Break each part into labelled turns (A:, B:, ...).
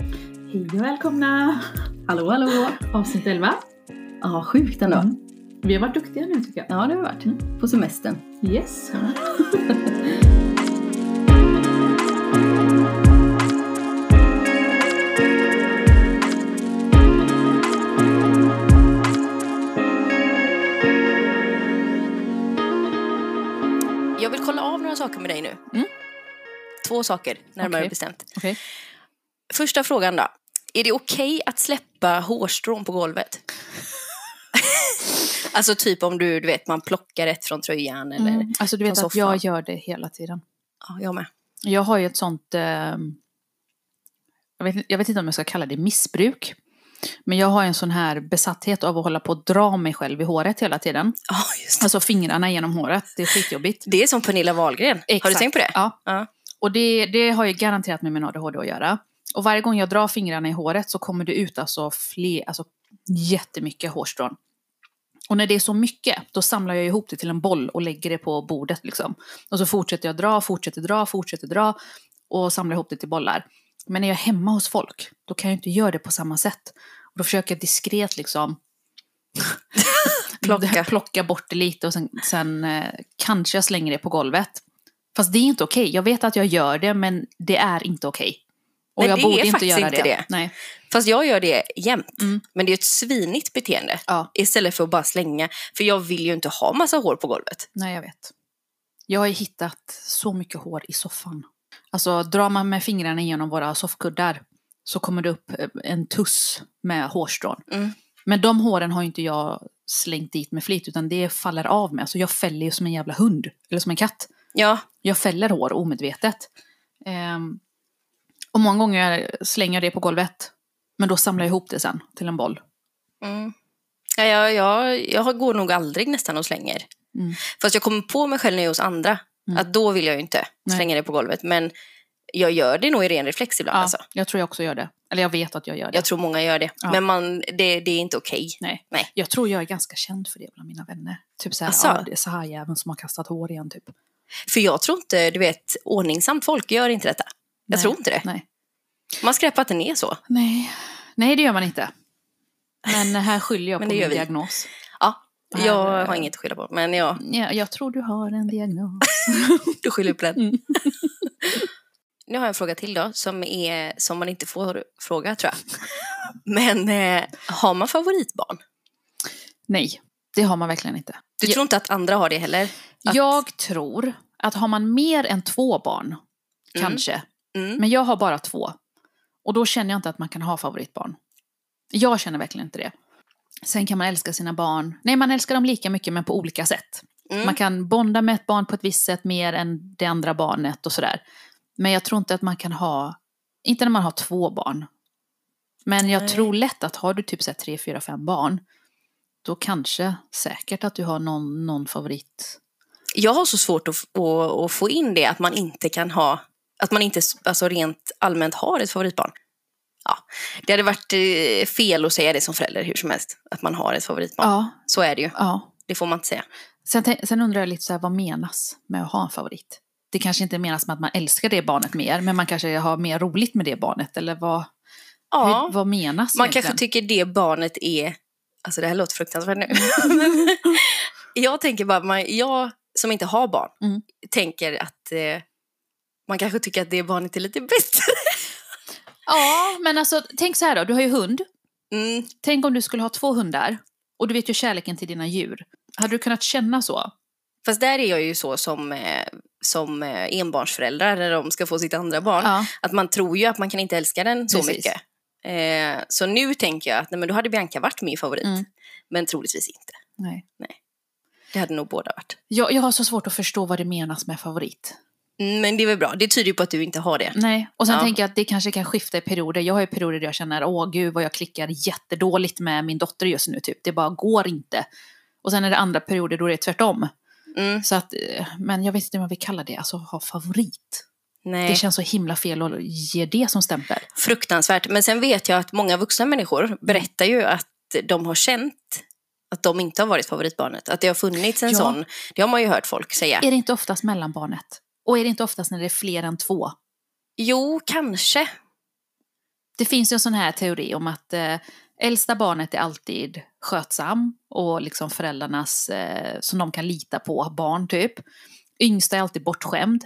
A: Hej och välkomna!
B: Hallå, hallå!
A: Avsnitt 11.
B: Ja, sjukt ändå.
A: Mm. Vi har varit duktiga nu tycker jag.
B: Ja, det har vi varit. På semestern.
A: Yes.
C: Jag vill kolla av några saker med dig nu.
D: Mm.
C: Två saker, närmare
D: Okej.
C: bestämt.
D: Okej.
C: Första frågan då. Är det okej att släppa hårstrån på golvet? alltså typ om du, du vet, man plockar ett från tröjan eller...
D: Mm. Alltså du vet
C: från
D: att jag
C: soffan.
D: gör det hela tiden.
C: Ja, jag med.
D: Jag har ju ett sånt, ehm, jag, vet, jag vet inte om jag ska kalla det missbruk. Men jag har en sån här besatthet av att hålla på och dra mig själv i håret hela tiden.
C: Ja, just det.
D: Alltså fingrarna genom håret, det är skitjobbigt.
C: Det är som Pernilla Wahlgren. Har du
D: Exakt.
C: tänkt på det?
D: Ja.
C: Ja.
D: Och det, det har ju garanterat med min ADHD att göra. Och varje gång jag drar fingrarna i håret så kommer det ut alltså, fler, alltså jättemycket hårstrån. Och när det är så mycket, då samlar jag ihop det till en boll och lägger det på bordet liksom. Och så fortsätter jag dra, fortsätter dra, fortsätter dra och samlar ihop det till bollar. Men när jag är hemma hos folk, då kan jag inte göra det på samma sätt. Och då försöker jag diskret liksom
C: Plocka.
D: plocka bort det lite och sen, sen eh, kanske jag slänger det på golvet. Fast det är inte okej. Jag vet att jag gör det, men det är inte okej. Och
C: Nej,
D: jag
C: det är
D: borde inte
C: faktiskt
D: göra
C: inte
D: det.
C: det.
D: Nej.
C: Fast jag gör det jämt.
D: Mm.
C: Men det är ju ett svinigt beteende.
D: Ja,
C: Istället för att bara slänga. För jag vill ju inte ha massa hår på golvet.
D: nej, jag vet. Jag har ju hittat så mycket hår i soffan. Alltså, drar man med fingrarna igenom våra soffkuddar så kommer det upp eh, en tuss med hårstrån.
C: Mm.
D: Men de håren har ju inte jag slängt dit med flit, utan det faller av mig. Alltså, jag fäller ju som en jävla hund, eller som en katt.
C: Ja,
D: Jag fäller hår omedvetet. Ehm, och många gånger slänger jag det på golvet. Men då samlar jag ihop det sen till en boll.
C: Mm. Ja, jag, jag, jag går nog aldrig nästan och slänger.
D: Mm.
C: Fast jag kommer på mig själv när jag är hos andra.
D: Mm.
C: Att då vill jag ju inte
D: Nej.
C: slänga det på golvet. Men jag gör det nog i ren reflex ibland. Alltså.
D: Jag tror jag också gör det. Eller jag vet att jag gör det.
C: Jag tror många gör det.
D: Ja.
C: Men man, det, det är inte okej.
D: Nej.
C: Nej.
D: jag tror jag är ganska känd för det bland mina vänner. Typ såhär,
C: Asså?
D: ja, det är så här jäveln som har kastat hår igen typ.
C: För jag tror inte, du vet, ordningsamt folk gör inte detta. Jag
D: Nej.
C: tror inte det.
D: Nej.
C: Man skräpar att den är så.
D: Nej. Nej, det gör man inte. Men här skyller jag på
C: Men det gör
D: min
C: vi.
D: diagnos.
C: Ja,
D: Det här-
C: jag har inget att skylla på. Men jag,
D: Ja, jag tror du har en diagnos.
C: du skyller på den.
D: Mm.
C: nu har jag en fråga till då, som, är, som man inte får fråga tror jag. Men eh, har man favoritbarn?
D: Nej, det har man verkligen inte.
C: Du tror inte att andra har det heller? Att-
D: Jag tror att har man mer än två barn, kanske,
C: Mm.
D: men jag har bara två. Och då känner jag inte att man kan ha favoritbarn. Jag känner verkligen inte det. Sen kan man älska sina barn. Nej, man älskar dem lika mycket men på olika sätt.
C: Mm.
D: Man kan bonda med ett barn på ett visst sätt mer än det andra barnet och sådär. Men jag tror inte att man kan ha, inte när man har två barn. Men jag
C: Nej.
D: tror lätt att har du typ så här tre, fyra, fem barn, då kanske säkert att du har någon, någon favorit.
C: Jag har så svårt att, f- att, att få in det, att man inte kan ha, att man inte s- alltså rent allmänt har ett favoritbarn. Ja. Det hade varit eh, fel att säga det som förälder hur som helst, att man har ett favoritbarn.
D: Ja,
C: Så är det ju,
D: ja.
C: det får man inte säga.
D: Sen, tän- sen undrar jag lite så här, vad menas med att ha en favorit? Det kanske inte menas med att man älskar det barnet mer, men man kanske har mer roligt med det barnet, eller vad,
C: Ja,
D: hur, vad menas
C: man
D: egentligen?
C: kanske tycker det barnet är, alltså det här låter fruktansvärt nu. Men jag tänker bara, man, jag som inte har barn,
D: Mm.
C: tänker att eh, man kanske tycker att det barnet är lite bättre.
D: Ja, men alltså tänk så här då, du har ju hund.
C: Mm.
D: Tänk om du skulle ha två hundar, och du vet ju kärleken till dina djur. Hade du kunnat känna så?
C: Fast där är jag ju så som, eh, som eh, enbarnsföräldrar när de ska få sitt andra barn.
D: Ja,
C: Att man tror ju att man kan inte älska den så
D: Precis.
C: mycket. Eh, så nu tänker jag att nej, men då hade Bianca varit min favorit.
D: Mm.
C: Men troligtvis inte.
D: nej.
C: Det hade nog båda varit.
D: Jag, jag har så svårt att förstå vad det menas med favorit.
C: Mm, Men det är väl bra. Det tyder ju på att du inte har det.
D: Nej, och sen
C: Ja.
D: tänker jag att det kanske kan skifta i perioder. Jag har ju perioder där jag känner, åh gud vad jag klickar jättedåligt med min dotter just nu, typ. det bara går inte. Och sen är det andra perioder då det är tvärtom.
C: Mm.
D: Så att, eh, men jag vet inte vad vi kallar det, alltså ha favorit.
C: Nej.
D: Det känns så himla fel att ge det som stämpel.
C: Fruktansvärt. Men sen vet jag att många vuxna
D: Mm.
C: människor berättar ju att de har känt att de inte har varit favoritbarnet. Att det har funnits en
D: Ja.
C: sån. Det har man ju hört folk säga.
D: Är det inte oftast mellanbarnet? Och är det inte oftast när det är fler än två?
C: Jo, kanske.
D: Det Det finns ju en sån här teori om att eh, äldsta barnet är alltid skötsam och liksom föräldrarnas, eh, som de kan lita på, barn typ. Yngsta är alltid bortskämd.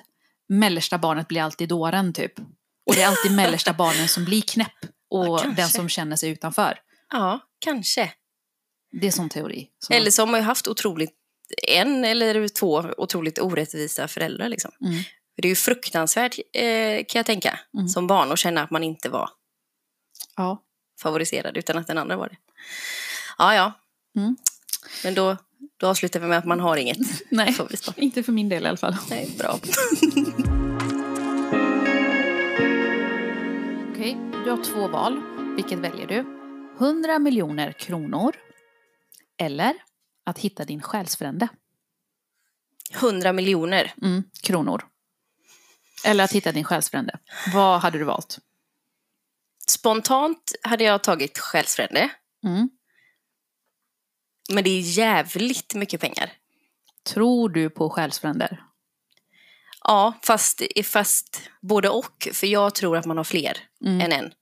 D: Mellersta barnet blir alltid dåren typ. Och det är alltid mellersta barnen som blir knäpp
C: Ja,
D: och
C: kanske.
D: den som känner sig utanför.
C: Ja, kanske.
D: Det är sån teori. som-
C: Eller så har man ju haft otroligt, en eller två otroligt orättvisa föräldrar. Liksom.
D: Mm.
C: För Det är ju fruktansvärt eh, kan jag tänka,
D: Mm.
C: som barn att känna att man inte var
D: Ja.
C: favoriserad utan att den andra var det. Ja, ja.
D: Mm.
C: Men då, då avslutar vi med att man har inget.
D: Nej,
C: Får vi stå.
D: inte för min del i alla fall.
C: Nej, bra.
D: Okej, du har två val. Vilket väljer du? 100 miljoner kronor eller att hitta din själsfrände.
C: 100 miljoner.
D: Mm, kronor. Eller att hitta din själsfrände. Vad hade du valt?
C: Spontant hade jag tagit själsfrände.
D: Mm.
C: Men det är jävligt mycket pengar.
D: Tror du på själsfränder?
C: Ja, fast, fast både och. För jag tror att man har fler
D: Mm.
C: än en.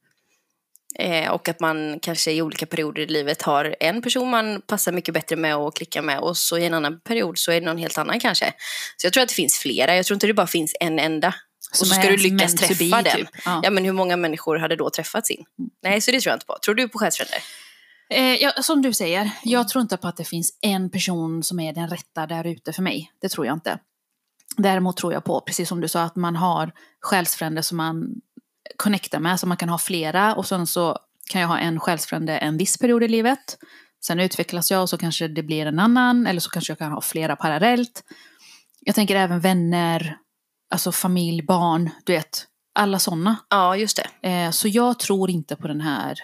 C: Eh, och att man kanske i olika perioder i livet har en person man passar mycket bättre med och klickar med. Och så i en annan period så är det någon helt annan kanske. Så jag tror att det finns flera. Jag tror inte det bara finns en enda. och så
D: är
C: ska du
D: ens
C: lyckas
D: meant to be,
C: träffa den.
D: typ. Ja.
C: Ja, men hur många människor hade då träffat sin?
D: Mm.
C: Nej, så det tror jag inte på. Tror du på själsfränder?
D: Eh, ja, som du säger, jag tror inte på att det finns en person som är den rätta där ute för mig. Det tror jag inte. Däremot tror jag på, precis som du sa, att man har själsfränder som man connectar med, så man kan ha flera och sen så kan jag ha en själsfrände en viss period i livet. Sen utvecklas jag och så kanske det blir en annan eller så kanske jag kan ha flera parallellt. Jag tänker även vänner, alltså familj, barn, du vet, alla sådana.
C: Ja, just det.
D: Eh, så jag tror inte på den här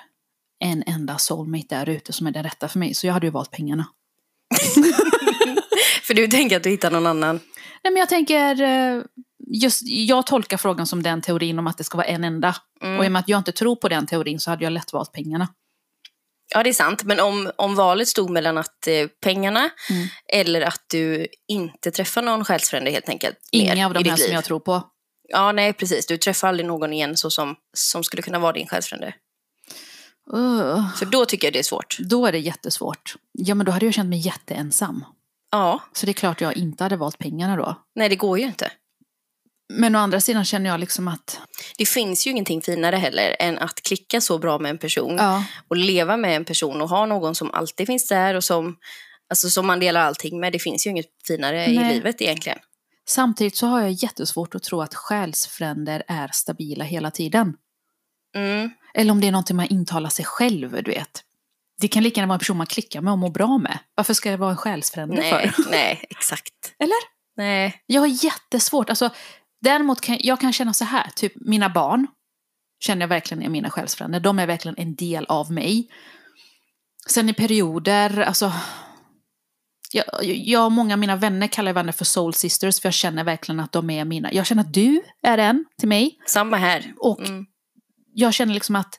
D: en enda soulmate där ute som är den rätta för mig. Så jag hade ju valt pengarna.
C: För du tänker att du hittar någon annan.
D: Nej men jag tänker, eh, just, jag tolkar frågan som den teorin om att det ska vara en enda.
C: Mm.
D: Och i och med att jag inte tror på den teorin så hade jag lätt valt pengarna.
C: Ja, det är sant. Men om, om valet stod mellan att eh, pengarna
D: Mm.
C: eller att du inte träffar någon själsfrände helt enkelt. mer
D: Inga av
C: i
D: de
C: ditt
D: här
C: liv.
D: som jag tror på.
C: Ja, nej precis. Du träffar aldrig någon igen så som, som skulle kunna vara din själsfrände.
D: Ugh.
C: För då tycker jag det är svårt.
D: Då är det jättesvårt. Ja men då hade jag känt mig jätteensam.
C: Ja,
D: Så det är klart jag inte hade valt pengarna då.
C: nej det går ju inte.
D: Men å andra sidan känner jag liksom att,
C: Det finns ju ingenting finare heller än att klicka så bra med en person
D: ja,
C: och leva med en person och ha någon som alltid finns där och som, alltså, som man delar allting med. Det finns ju inget finare i
D: Nej.
C: livet egentligen.
D: Samtidigt så har jag jättesvårt att tro att själsfränder är stabila hela tiden.
C: Mm.
D: Eller om det är någonting man intalar sig själv, du vet. Det kan lika gärna vara en person man klickar med och mår bra med. Varför ska det vara en själsfrände
C: Nej,
D: för?
C: nej, exakt.
D: Eller?
C: Nej.
D: Jag har jättesvårt. Alltså, däremot kan jag kan känna så här, typ mina barn känner jag verkligen är mina själsfränder. De är verkligen en del av mig. Sen i perioder, alltså... Jag, jag och många av mina vänner kallar jag vänner för soul sisters för jag känner verkligen att de är mina. Jag känner att du är en till mig.
C: Samma här.
D: Och
C: Mm.
D: jag känner liksom att,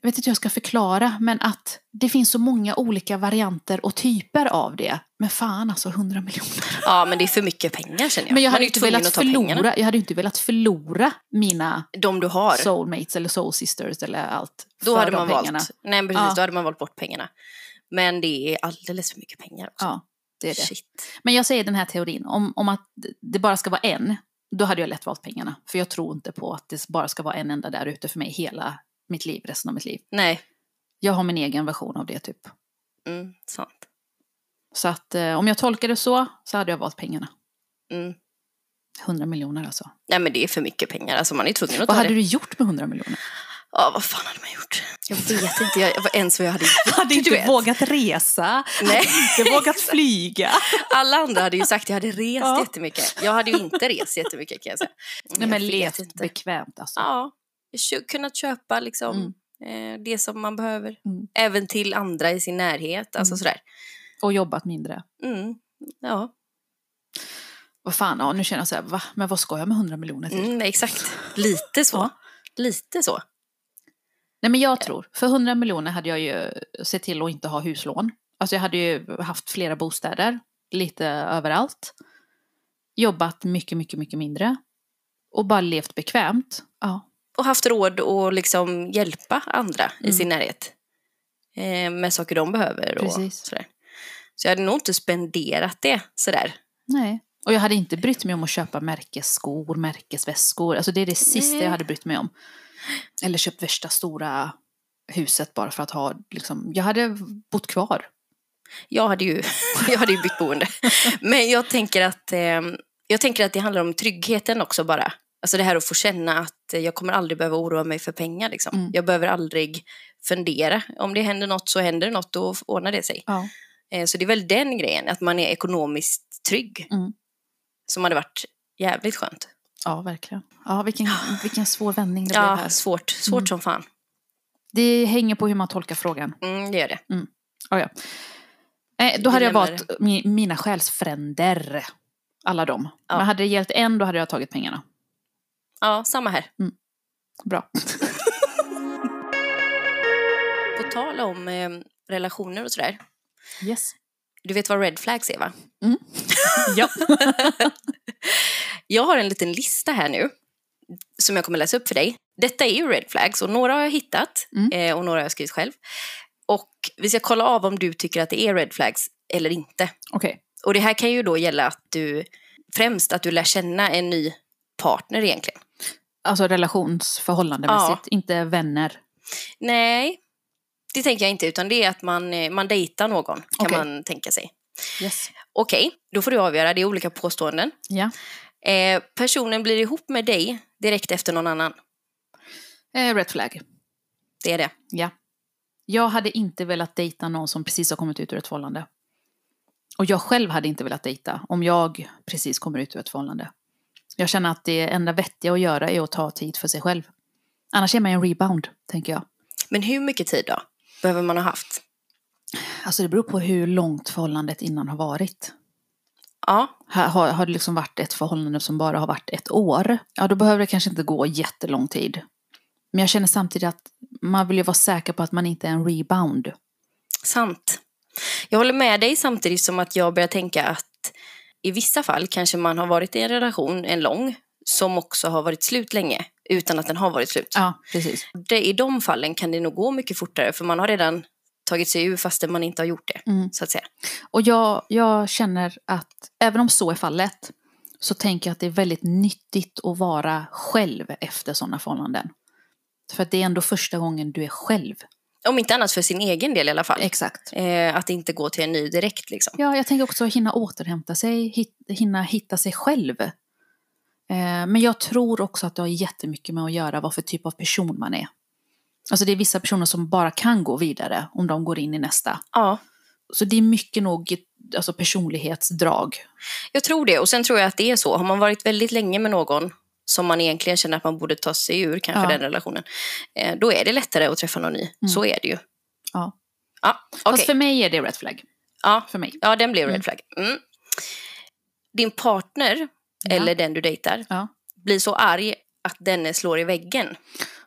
D: jag vet inte hur jag ska förklara, men att det finns så många olika varianter och typer av det. Men fan alltså, 100 miljoner.
C: Ja, men det är för mycket pengar känner jag.
D: Men jag
C: Man
D: hade, ju
C: är ju
D: inte
C: tvungen
D: velat
C: att ta pengarna.
D: förlora, jag hade ju inte velat förlora mina
C: De du har.
D: soulmates eller soul sisters eller allt.
C: Då
D: för
C: hade
D: de
C: man
D: pengarna.
C: valt. Nej, precis,
D: Ja.
C: då hade man valt bort pengarna. Men det är alldeles för mycket pengar också.
D: Ja, det är det.
C: Shit.
D: Men jag säger den här teorin, om, om att det bara ska vara en, då hade jag lätt valt pengarna. För jag tror inte på att det bara ska vara en enda där ute för mig hela mitt liv, resten av mitt liv.
C: Nej,
D: Jag har min egen version av det typ.
C: mm, sant.
D: Så att eh, om jag tolkar det så, så hade jag valt pengarna.
C: Mm.
D: 100 miljoner alltså.
C: Nej, men det är för mycket pengar. Alltså, man är tvungen att
D: Vad
C: ta
D: hade
C: det.
D: du gjort med 100 miljoner?
C: Ja, vad fan hade man gjort? Jag vet inte jag, vad- ens vad jag hade gjort.
D: Hade
C: du vet.
D: vågat resa,
C: Nej.
D: inte vågat flyga.
C: Alla andra hade ju sagt att jag hade rest
D: Ja.
C: jättemycket. Jag hade ju inte rest jättemycket kan jag säga.
D: Nej
C: Jag
D: men
C: vet
D: levt
C: inte.
D: bekvämt alltså.
C: Ja, jag kö- kunnat köpa liksom, eh, det som man behöver.
D: Mm.
C: Även till andra i sin närhet. Alltså
D: Mm.
C: sådär.
D: Och jobbat mindre.
C: Mm. Ja,
D: Vad fan, ja, nu känner jag så här, va? Men vad ska jag med 100 miljoner till?
C: mm, exakt. Lite så.
D: Ja.
C: Lite så.
D: Nej men jag tror, för 100 miljoner hade jag ju sett till att inte ha huslån. Alltså jag hade ju haft flera bostäder, lite överallt. Jobbat mycket, mycket, mycket mindre. Och bara levt bekvämt. Ja,
C: och haft råd att liksom hjälpa andra i
D: Mm.
C: sin närhet eh, med saker de behöver. Och
D: Precis.
C: sådär. Så jag hade nog inte spenderat det sådär.
D: Nej. Och jag hade inte brytt mig om att köpa märkesskor, märkesväskor. Alltså det är det sista
C: Nej.
D: jag hade brytt mig om. Eller köpt värsta stora huset bara för att ha, liksom, jag hade bott kvar.
C: Jag hade ju, jag hade ju bytt boende. Men jag tänker, att, eh, jag tänker att det handlar om tryggheten också bara. Alltså det här att få känna att eh, jag kommer aldrig behöva oroa mig för pengar. Liksom.
D: Mm.
C: Jag behöver aldrig fundera. Om det händer något så händer det något och ordnar det sig.
D: Ja.
C: Eh, Så det är väl den grejen, att man är ekonomiskt trygg.
D: Mm.
C: Som hade varit jävligt skönt.
D: Ja, verkligen. Ja, vilken, vilken svår vändning det blev
C: Ja,
D: här.
C: svårt. Svårt
D: Mm.
C: som fan.
D: Det hänger på hur man tolkar frågan.
C: Mm, det gör det.
D: Nej, då hade jag
C: Dilemma
D: valt mi- mina själsfränder. Alla dem.
C: Ja.
D: Men hade det gällt en, då hade jag tagit pengarna.
C: Ja, samma här.
D: Mm. Bra.
C: På tal om eh, relationer och sådär.
D: Yes.
C: Du vet vad red flags är va?
D: Ja.
C: Jag har en liten lista här nu som jag kommer läsa upp för dig. Detta är ju red flags och några har jag hittat
D: Mm.
C: eh, och några har jag skrivit själv. Och vi ska kolla av om du tycker att det är red flags eller inte.
D: Okej.
C: Och det här kan ju då gälla att du främst att du lär känna en ny partner egentligen.
D: Alltså relationsförhållandemässigt, inte vänner.
C: Nej, det tänker jag inte utan det är att man, eh, man dejtar någon kan
D: Okej.
C: man tänka sig.
D: Yes.
C: Okej, då får du avgöra, det är olika påståenden.
D: Ja.
C: Eh, personen blir ihop med dig direkt efter någon annan.
D: Eh, red flag.
C: Det är det.
D: Jag hade inte velat dejta någon som precis har kommit ut ur ett förhållande. Och jag själv hade inte velat dejta om jag precis kommer ut ur ett förhållande. Jag känner att det enda vettiga att göra är att ta tid för sig själv. Annars är man en rebound, tänker jag.
C: Men hur mycket tid då? Behöver man ha haft?
D: Alltså det beror på hur långt förhållandet innan har varit.
C: Ja,
D: Har, har, har det liksom varit ett förhållande som bara har varit ett år, ja då behöver det kanske inte gå jättelång tid. Men jag känner samtidigt att man vill ju vara säker på att man inte är en rebound.
C: sant. Jag håller med dig samtidigt som att jag börjar tänka att i vissa fall kanske man har varit i en relation, en lång, som också har varit slut länge utan att den har varit slut.
D: Ja, precis.
C: Det, I de fallen kan det nog gå mycket fortare för man har redan tagit sig ur fastän man inte har gjort det.
D: Mm.
C: Så att säga.
D: Och jag, jag känner att även om så är fallet så tänker jag att det är väldigt nyttigt att vara själv efter sådana förhållanden. För att det är ändå första gången du är själv.
C: Om inte annat för sin egen del i alla fall.
D: Exakt.
C: Eh, att inte gå till en ny direkt liksom.
D: Ja, jag tänker också hinna återhämta sig, hit, hinna hitta sig själv. Eh, men jag tror också att det har jättemycket med att göra vad för typ av person man är. Alltså det är vissa personer som bara kan gå vidare om de går in i nästa.
C: Ja,
D: Så det är mycket nog alltså personlighetsdrag.
C: jag tror det. Och sen tror jag att det är så. Har man varit väldigt länge med någon som man egentligen känner att man borde ta sig ur kanske
D: Ja. Mm.
C: den relationen. Eh, då är det lättare att träffa någon ny. Så är det ju.
D: Ja.
C: Ja, okej.
D: Fast för mig är det red flag.
C: ja,
D: För mig.
C: ja, den blev
D: Mm.
C: red flag. Mm. Din partner, eller den du dejtar,
D: Ja.
C: blir så arg att denne slår i väggen.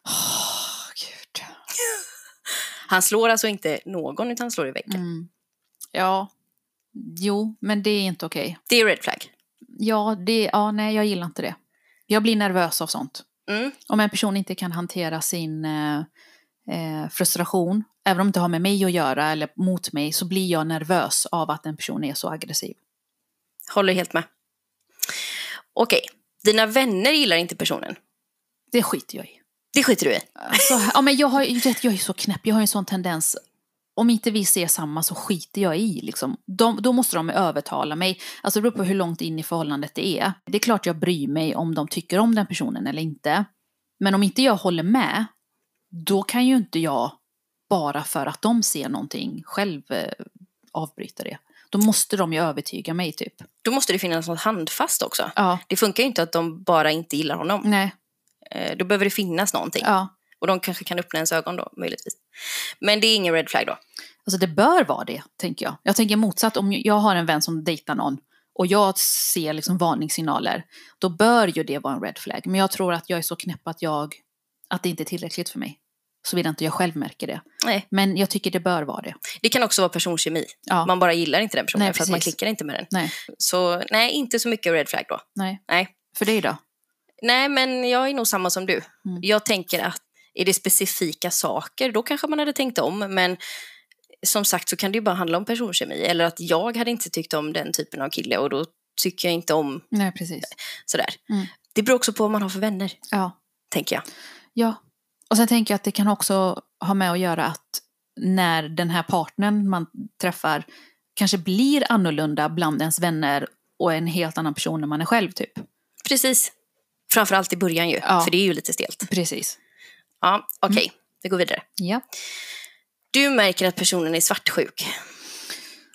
D: Åh, gud.
C: Han slår alltså inte någon, utan han slår i väggen.
D: Mm. Ja. Jo, men det är inte okej.
C: Det är red flag.
D: Ja, det, ja, nej, jag gillar inte det. Jag blir nervös av sånt.
C: Mm.
D: Om en person inte kan hantera sin eh, eh, frustration, även om det inte har med mig att göra eller mot mig, så blir jag nervös av att en person är så aggressiv.
C: Håller helt med. Okej, dina vänner gillar inte personen.
D: Det skiter jag i.
C: Det skiter du i.
D: Alltså, ja, men jag, har, ju- vet, jag är så knäpp, jag har ju en sån tendens. Om inte vi ser samma så skiter jag i. Liksom. De, då måste de övertala mig. Alltså, det beror på hur långt in i förhållandet det är. Det är klart jag bryr mig om de tycker om den personen eller inte. Men om inte jag håller med, då kan ju inte jag bara för att de ser någonting själv eh, avbryta det. Då måste de ju övertyga mig typ.
C: Då måste det finnas något handfast också.
D: Ja,
C: Det funkar ju inte att de bara inte gillar honom.
D: nej,
C: Eh, Då behöver det finnas någonting.
D: ja.
C: Och de kanske kan öppna ens ögon då, möjligtvis. Men det är ingen red flag då.
D: Alltså det bör vara det, tänker jag. Jag tänker motsatt, om jag har en vän som dejtar någon och jag ser liksom varningssignaler, då bör ju det vara en red flag. Men jag tror att jag är så knäpp att, jag, att det inte är tillräckligt för mig. Såvida inte jag själv märker det.
C: Nej.
D: Men jag tycker det bör vara det.
C: Det kan också vara personkemi.
D: Ja,
C: Man bara gillar inte den personen
D: Nej,
C: för att man
D: precis.
C: klickar inte med den.
D: Nej.
C: Så nej, inte så mycket red flag då.
D: nej.
C: Nej.
D: För dig då?
C: Nej, men jag är nog samma som du.
D: Mm.
C: Jag tänker att är det specifika saker, då kanske man hade tänkt om. Men som sagt så kan det ju bara handla om personkemi. Eller att jag hade inte tyckt om den typen av kille och då tycker jag inte om
D: Nej, precis.
C: sådär.
D: Mm.
C: Det beror också på vad man har för vänner,
D: Ja.
C: tänker jag.
D: Ja. Och sen tänker jag att det kan också ha med att göra att när den här partnern man träffar kanske blir annorlunda bland ens vänner och en helt annan person än man är själv typ.
C: Precis. Framförallt i början ju,
D: Ja. Mm.
C: för det är ju lite stelt.
D: Precis.
C: Ja, okej. Vi går vidare.
D: Ja.
C: Du märker att personen är svartsjuk.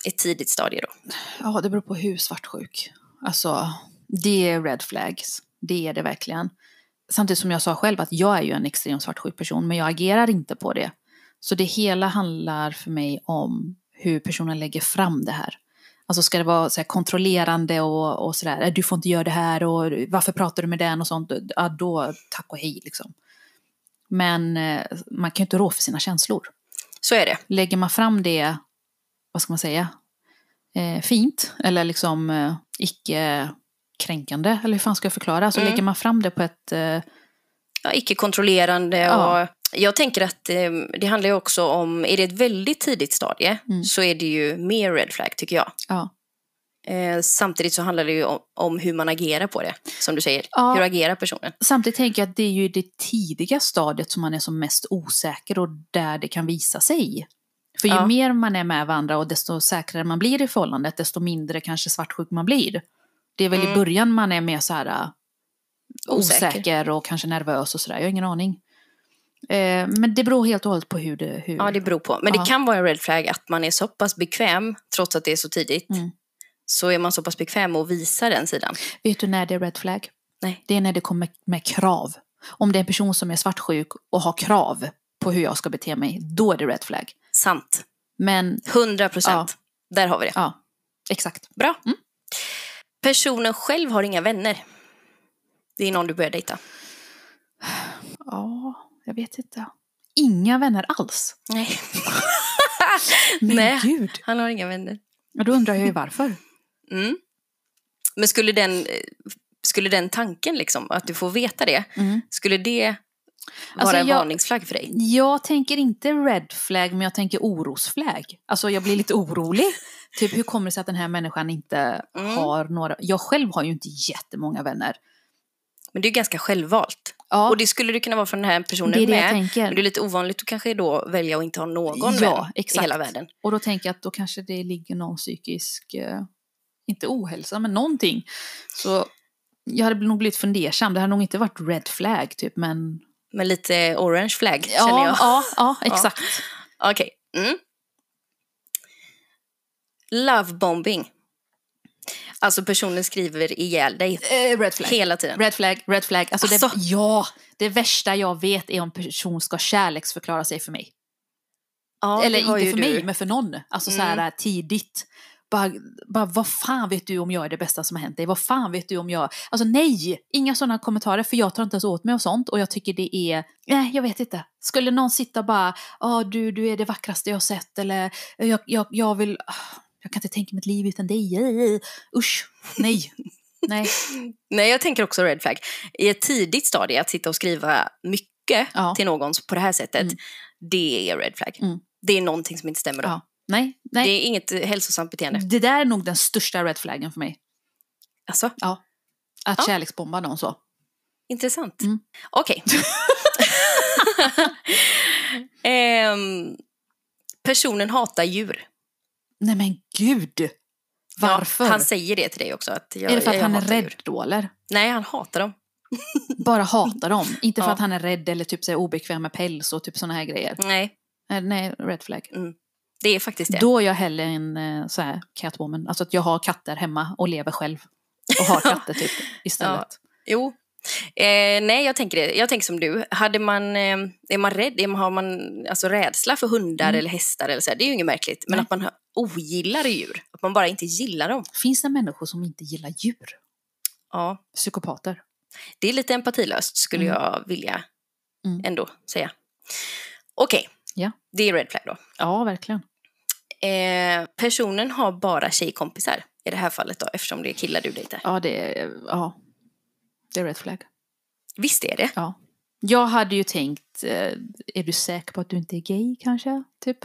C: I ett tidigt stadie då.
D: Ja, det beror på hur svartsjuk. Alltså, det är red flags. Det är det verkligen. Samtidigt som jag sa själv att jag är ju en extremt svartsjuk person, men jag agerar inte på det. Så det hela handlar för mig om hur personen lägger fram det här. Alltså ska det vara så här kontrollerande och, och sådär, du får inte göra det här och varför pratar du med den och sånt. Ja, då tack och hej liksom. Men eh, man kan ju inte rå för sina känslor
C: Så är det.
D: lägger man fram det, vad ska man säga, eh, fint eller liksom eh, icke kränkande, eller hur fan ska jag förklara? Så
C: Mm.
D: lägger man fram det på ett... Eh,
C: Ja, icke-kontrollerande
D: Ja.
C: och jag tänker att eh, det handlar ju också om, är det ett väldigt tidigt stadie
D: Mm.
C: så är det ju mer red flag tycker jag.
D: ja.
C: Eh, samtidigt så handlar det ju om, om hur man agerar på det, som du säger.
D: Ja.
C: Hur agerar personen?
D: Samtidigt tänker jag att det är ju i det tidiga stadiet som man är som mest osäker och där det kan visa sig. För ju
C: Ja.
D: mer man är med varandra och desto säkrare man blir i förhållandet, desto mindre kanske svartsjuk man blir. Det är väl i
C: Mm.
D: början man är mer så här eh,
C: Osäker.
D: osäker, och kanske nervös och sådär. Jag har ingen aning. Eh, men det beror helt och hållet på hur det... Hur...
C: Ja, det beror på. Men
D: Ja.
C: det kan vara en red flag att man är så pass bekväm, trots att det är så tidigt,
D: Mm.
C: så är man så pass bekväm och visar den sidan.
D: Vet du när det är red flag?
C: Nej.
D: Det är när det kommer med krav. Om det är en person som är svartsjuk och har krav på hur jag ska bete mig, då är det red flag.
C: Sant.
D: Men
C: 100 procent. Där har vi det.
D: ja, exakt.
C: Bra.
D: Mm.
C: Personen själv har inga vänner. Det är någon du börjar dejta.
D: Ja, jag vet inte. Inga vänner alls.
C: Nej.
D: Men
C: Nej.
D: gud.
C: Han har inga vänner.
D: Ja, Då undrar jag ju varför.
C: Mm. Men skulle den, eh, skulle den tanken, liksom, att du får veta det, skulle det vara
D: Alltså,
C: Mm. en
D: jag-
C: varningsflagg för dig?
D: Jag tänker inte red flag, men jag tänker orosflagg. Alltså jag blir lite orolig. Typ hur kommer det sig att den här människan inte
C: Mm.
D: har några... Jag själv har ju inte jättemånga vänner.
C: Men det är ju ganska självvalt.
D: Ja,
C: Och det skulle det kunna vara för den här personen
D: det är det jag
C: med.
D: tänker.
C: Men Eh, det är lite ovanligt att kanske då välja att inte ha någon vän i hela världen.
D: Och då tänker jag att då kanske det ligger någon psykisk, eh, inte ohälsa, men någonting. Så jag hade nog blivit fundersam. Det hade nog inte varit red flag typ, men...
C: Men lite orange flagg känner
D: Ja,
C: jag.
D: ja, ja, exakt.
C: Okej. Mm. Lovebombing. Alltså personen skriver ihjäl dig
D: Eh, red flag.
C: hela tiden.
D: Red flag, red flag. Alltså,
C: Alltså.
D: Det, ja, det värsta jag vet är om person ska kärleksförklara sig för mig.
C: Ja, det
D: Eller
C: har
D: inte
C: ju
D: för
C: du. Mm.
D: mig, men för någon. Alltså så här tidigt. Bara, bara, vad fan vet du om jag är det bästa som har hänt dig? Vad fan vet du om jag... Alltså nej! Inga sådana kommentarer, för jag tar inte ens åt mig av sånt. Och jag tycker det är... Nej, jag vet inte. Skulle någon sitta och bara, ja du, du är det vackraste jag har sett. Eller, jag, jag, jag vill... ah, Jag kan inte tänka mitt liv utan dig. eh, eh. Usch! Nej! nej.
C: Nej, jag tänker också red flag. I ett tidigt stadie, att sitta och skriva mycket
D: Ja.
C: till någon på det här sättet,
D: Mm.
C: det är red flag.
D: Mm.
C: Det är någonting som inte stämmer då.
D: Ja. Nej, nej. Mm.
C: Det är inget eh, hälsosamt beteende.
D: Det där är nog den största red flaggen för mig.
C: Alltså,
D: Att
C: Ja.
D: kärleksbomba någon så.
C: intressant.
D: Mm.
C: Okej. Ehm, personen hatar djur.
D: Nej men gud! Varför?
C: Ja, han säger det till dig också. Att jag,
D: är det för att
C: jag
D: han är
C: hatar
D: rädd
C: Djur.
D: då eller?
C: Nej, han hatar dem.
D: Bara hatar dem. Inte för
C: Ja.
D: att han är rädd eller typ så här obekväm med päls och typ sådana här grejer.
C: Nej,
D: Eh, Nej, red flag.
C: det är faktiskt Mm. det.
D: Då är jag hellre en eh, så här catwoman. Alltså att jag har katter hemma och lever själv. Och har katter typ istället.
C: Jo. Eh, nej, jag tänker, det. jag tänker som du. Hade man, eh, är man rädd, är man, har man alltså, rädsla för hundar
D: Mm.
C: eller hästar eller så här, det är ju inget märkligt. Men
D: Nej.
C: att man ha- ogillar djur, att man bara inte gillar dem.
D: Finns det människor som inte gillar djur?
C: Ja,
D: Psykopater.
C: det är lite empatilöst skulle
D: Mm.
C: jag vilja
D: Mm.
C: ändå säga. Okej,
D: Ja.
C: det är red flag då.
D: Ja, verkligen.
C: Eh, personen har bara tjejkompisar i det här fallet då, eftersom det är killar du dejtar.
D: Ja, det är... Ja. Det är red flag.
C: Visst är det.
D: Ja. Jag hade ju tänkt, eh, är du säker på att du inte är gay kanske? Typ.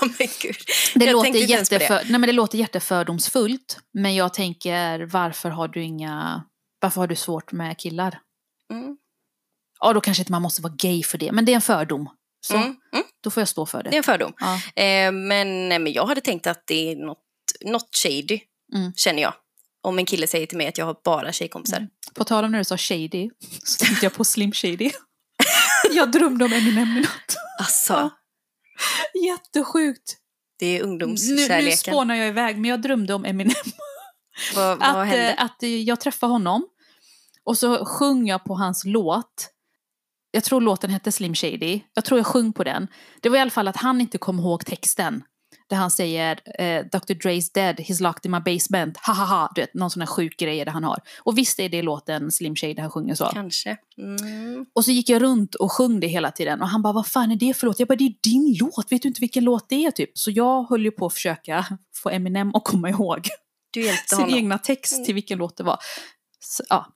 C: Ja, men gud.
D: Det,
C: Jag
D: låter,
C: tänkte inte ens på det.
D: jätteför, Nej, men det låter jättefördomsfullt. Men jag tänker, varför har du inga... Varför har du svårt med killar?
C: Mm.
D: Ja, då kanske inte man måste vara gay för det. Men det är en fördom. Så,
C: Mm. Mm.
D: då får jag stå för det.
C: Det är en fördom.
D: Ja.
C: Eh, men, nej, men jag hade tänkt att det är något, något shady,
D: Mm.
C: känner jag. Om en kille säger till mig att jag har bara tjejkompisar.
D: På tal om när du sa shady, så tänkte jag på Slim Shady. jag drömde om Eminem i natt.
C: Alltså,
D: Jättesjukt.
C: det är
D: Nu, nu
C: ungdomskärleken.
D: spånar jag iväg, men jag drömde om Eminem.
C: vad vad
D: att,
C: hände?
D: eh, att eh, jag träffade honom och så sjöng jag på hans låt. Jag tror låten hette Slim Shady. Jag tror jag sjöng på den. Det var i alla fall att han inte kom ihåg texten. Där han säger eh, Dr. Dre's dead, he's locked in my basement, ha ha ha. Du vet, någon sån här sjuk grej där han har. Och visst är det låten Slim Shady han sjunger så.
C: Kanske. Mm.
D: Och så gick jag runt och sjöng det hela tiden. Och han bara, vad fan är det för låt? Jag bara, det är din låt. Vet du inte vilken låt det är? Typ. Så jag höll ju på att försöka få Eminem att komma ihåg
C: Du hjälpte
D: sin
C: honom. Mm.
D: egna text till vilken låt det var. Så, ja.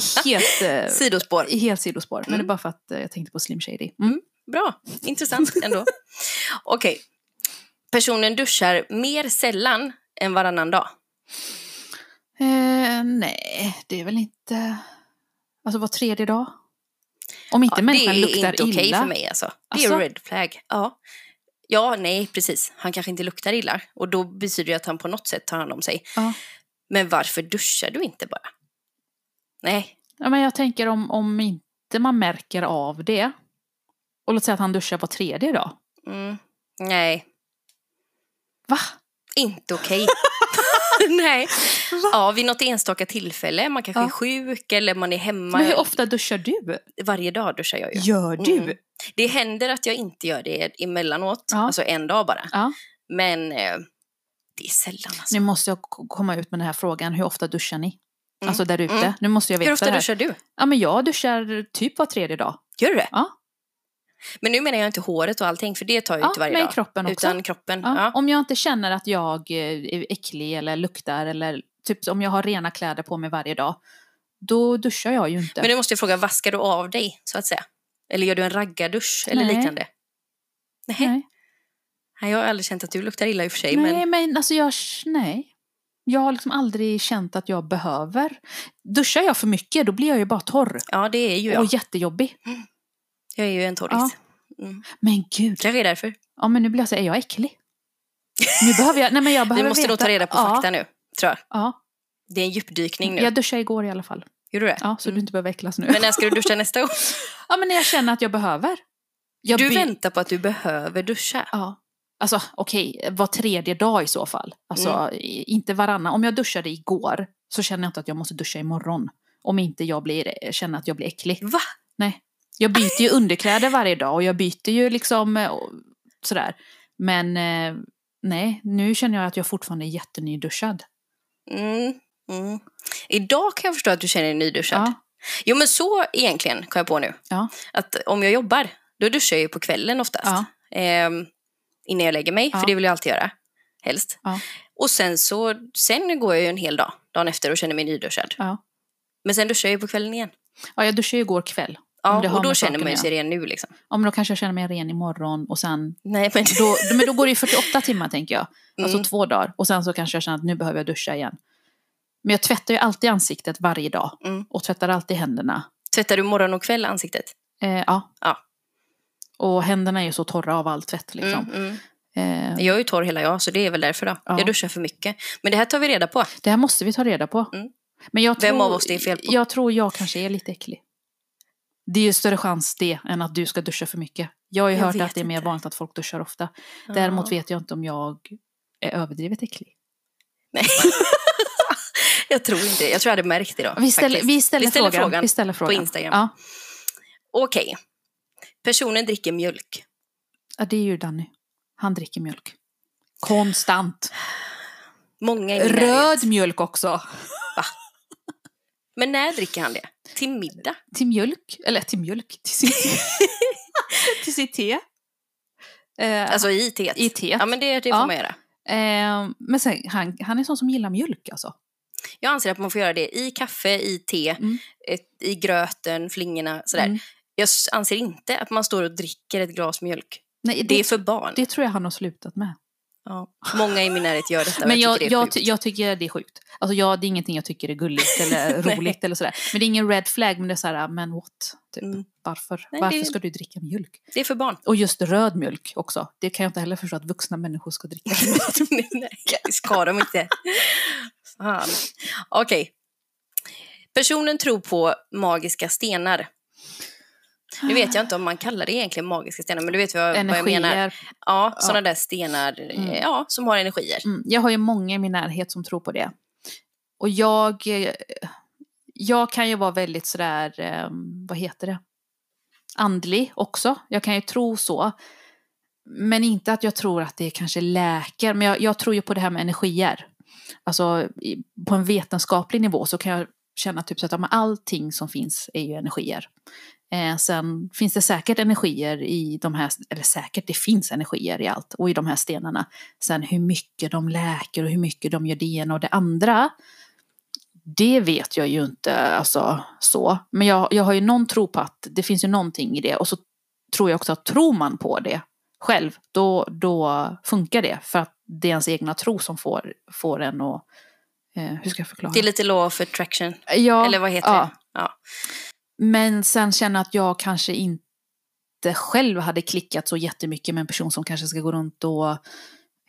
D: Så, helt, eh,
C: Sidospår.
D: helt sidospår. Men det
C: Mm.
D: är bara för att eh, jag tänkte på Slim Shady. Mm.
C: Bra, intressant ändå. Okej. Personen duschar mer sällan än varannan dag.
D: Eh, nej, det är väl inte... Alltså var tredje dag? Om inte
C: Ja, det
D: människan
C: är
D: luktar
C: inte okej
D: illa.
C: för mig alltså. Det är
D: Alltså?
C: red flag. Ja. ja, nej, precis. Han kanske inte luktar illa. Och då betyder det att han på något sätt tar hand om sig.
D: Ja.
C: Men varför duschar du inte bara? Nej,
D: Ja, men jag tänker om, om inte man märker av det. Och låt säga att han duschar var tredje dag.
C: mm. nej,
D: Va?
C: inte okej. nej. Ja, vid något enstaka tillfälle. Man kanske
D: Ja.
C: är sjuk eller man är hemma.
D: Men hur ofta duschar du?
C: Varje dag duschar jag ju.
D: Gör du?
C: Mm. Det händer att jag inte gör det emellanåt,
D: Ja.
C: alltså en dag bara.
D: Ja.
C: Men eh, det är sällan alltså.
D: Nu måste jag k- komma ut med den här frågan. Hur ofta duschar ni?
C: Mm.
D: Alltså där ute.
C: Mm.
D: Nu måste jag veta
C: Hur
D: det
C: ofta
D: här.
C: duschar du?
D: Ja, men jag duschar typ var tredje dag.
C: Gör du det?
D: Ja.
C: Men nu menar jag inte håret och allting, för det tar jag
D: Ja,
C: inte varje
D: men i
C: dag.
D: kroppen också.
C: Utan kroppen.
D: ja.
C: Ja.
D: Om jag inte känner att jag eh, är äcklig eller luktar eller typ om jag har rena kläder på mig varje dag. Då duschar jag ju inte.
C: Men nu måste jag fråga, vaskar du av dig så att säga? Eller gör du en raggardusch eller
D: Nej.
C: liknande? Nej.
D: nej.
C: Nej, jag har aldrig känt att du luktar illa i och för sig.
D: nej,
C: Men...
D: men... alltså jag, nej. Jag har liksom aldrig känt att jag behöver. Duschar jag för mycket då blir jag ju bara torr.
C: Ja, det är ju
D: Och
C: jag.
D: jättejobbig.
C: Jag är ju en torris. Mm.
D: Men gud.
C: Kanske är därför.
D: Ja men nu blir jag så här, är jag äcklig? Nu behöver jag, nej men jag
C: Vi
D: behöver
C: måste
D: veta.
C: nog ta reda på
D: ja,
C: fakta nu, tror jag.
D: Ja.
C: Det är en djupdykning nu. Mm.
D: Jag duschade igår i alla fall.
C: Gjorde du det?
D: Ja, så du inte behöver äcklas nu.
C: Men när ska du duscha nästa gång?
D: ja men när jag känner att jag behöver. Jag
C: du
D: by-
C: väntar på att du behöver duscha.
D: Ja. Alltså okej, var tredje dag i så fall. Alltså
C: Mm.
D: i- inte varannan. Om jag duschade igår så känner jag inte att jag måste duscha imorgon. Om inte jag blir, känner att jag blir äcklig.
C: Va?
D: Nej. Jag byter ju underkläder varje dag och jag byter ju liksom eh, och sådär. Men eh, nej, nu känner jag att jag fortfarande är jättenyduschad.
C: Mm. Mm. Idag kan jag förstå att du känner dig nyduschad.
D: Ja.
C: Jo men så egentligen kom jag på nu.
D: Ja.
C: Att om jag jobbar, då duschar jag ju på kvällen oftast.
D: Ja.
C: Ehm, innan jag lägger mig,
D: Ja.
C: för det vill jag alltid göra. Helst.
D: Ja.
C: Och sen så, sen går jag ju en hel dag, dagen efter och känner mig nyduschad.
D: Ja.
C: Men sen duschar jag ju på kvällen igen.
D: ja, jag duschade ju igår kväll. Om det
C: Ja,
D: har
C: och då
D: med
C: känner
D: saken
C: man ju
D: att
C: sig ren nu liksom.
D: Ja, men då kanske jag känner mig ren imorgon och sen...
C: Nej men,
D: Då, men då går det ju 48 timmar tänker jag. Alltså
C: Mm.
D: två dagar. Och sen så kanske jag känner att nu behöver jag duscha igen. Men jag tvättar ju alltid ansiktet varje dag.
C: Mm.
D: Och tvättar alltid händerna.
C: tvättar du morgon och kväll ansiktet?
D: Eh, ja.
C: Ja.
D: Och händerna är ju så torra av all tvätt liksom.
C: Mm, mm.
D: Eh,
C: Jag är ju torr hela jag, så det är väl därför då.
D: Ja.
C: Jag duschar för mycket. Men det här tar vi reda på.
D: Det här måste vi ta reda på.
C: Mm.
D: Men jag
C: Vem
D: tror,
C: av oss det är fel på?
D: Jag tror jag kanske är lite äcklig. Det är ju större chans det än att du ska duscha för mycket. Jag har ju
C: Jag
D: hört
C: vet
D: att det är mer
C: inte.
D: vanligt att folk duschar ofta. Däremot vet jag inte om jag är överdrivet äcklig.
C: Nej. jag tror inte det. Jag tror jag hade märkt det då.
D: Vi ställer,
C: faktiskt.
D: vi ställer,
C: Vi ställer
D: frågan,
C: frågan
D: vi ställer frågan.
C: på Instagram.
D: Ja.
C: Okej. Personen dricker mjölk.
D: ja, det är ju Danny. Han dricker mjölk. Konstant.
C: Många i min närhet.
D: Röd mjölk också.
C: Men när dricker han det? Till middag?
D: Till mjölk. Eller till mjölk. Till sitt te. till sitt te. Eh,
C: Alltså i teet?
D: I teet.
C: Ja, men det, det får
D: Ja.
C: man göra.
D: Eh, men sen, han, han är sån som gillar mjölk alltså.
C: Jag anser att man får göra det i kaffe, i te,
D: Mm.
C: eh, i gröten, flingorna, sådär.
D: Mm.
C: Jag s- anser inte att man står och dricker ett glas mjölk.
D: Nej,
C: Det är
D: det,
C: för barn.
D: det tror jag han har slutat med.
C: Ja. Många i min närhet gör detta. och
D: Men jag, jag,
C: tycker det är
D: jag,
C: sjukt.
D: ty- jag tycker det är sjukt. Alltså jag, det är ingenting jag tycker är gulligt eller
C: Nej.
D: roligt eller sådär. Men det är ingen red flag, men det är såhär, men what? Typ.
C: Mm.
D: Varför?
C: Nej,
D: Varför
C: det-
D: ska du dricka mjölk?
C: Det är för barn.
D: Och just röd mjölk också. Det kan jag inte heller förstå att vuxna människor ska dricka.
C: Nej, nej, det ska de inte. Fan. Okej. Personen tror på magiska stenar. Nu vet jag inte om man kallar det egentligen magiska stenar, men du vet vad, vad jag menar.
D: Energier.
C: Ja,
D: Ja.
C: sådana där stenar
D: Mm.
C: eh, ja, som har energier.
D: Mm. Jag har ju många i min närhet som tror på det. Och jag, eh, jag kan ju vara väldigt sådär, eh, vad heter det? Andlig också. Jag kan ju tro så. Men inte att jag tror att det kanske läker. Men jag, jag tror ju på det här med energier. Alltså i, på en vetenskaplig nivå så kan jag känna typ så att ja, men allting som finns är ju energier. Eh, sen finns det säkert energier i de här, eller säkert det finns energier i allt och i de här stenarna. Sen hur mycket de läker och hur mycket de gör det ena och det andra. Det vet jag ju inte, alltså så. Men jag, jag har ju någon tro på att det finns ju någonting i det. Och så tror jag också att tror man på det själv, då, då funkar det. För att det är ens egna tro som får, får en att... Eh, hur ska jag förklara?
C: Det är lite law of attraction,
D: ja,
C: eller vad heter
D: ja.
C: det? Ja.
D: Men sen känner jag att jag kanske inte själv hade klickat så jättemycket med en person som kanske ska gå runt och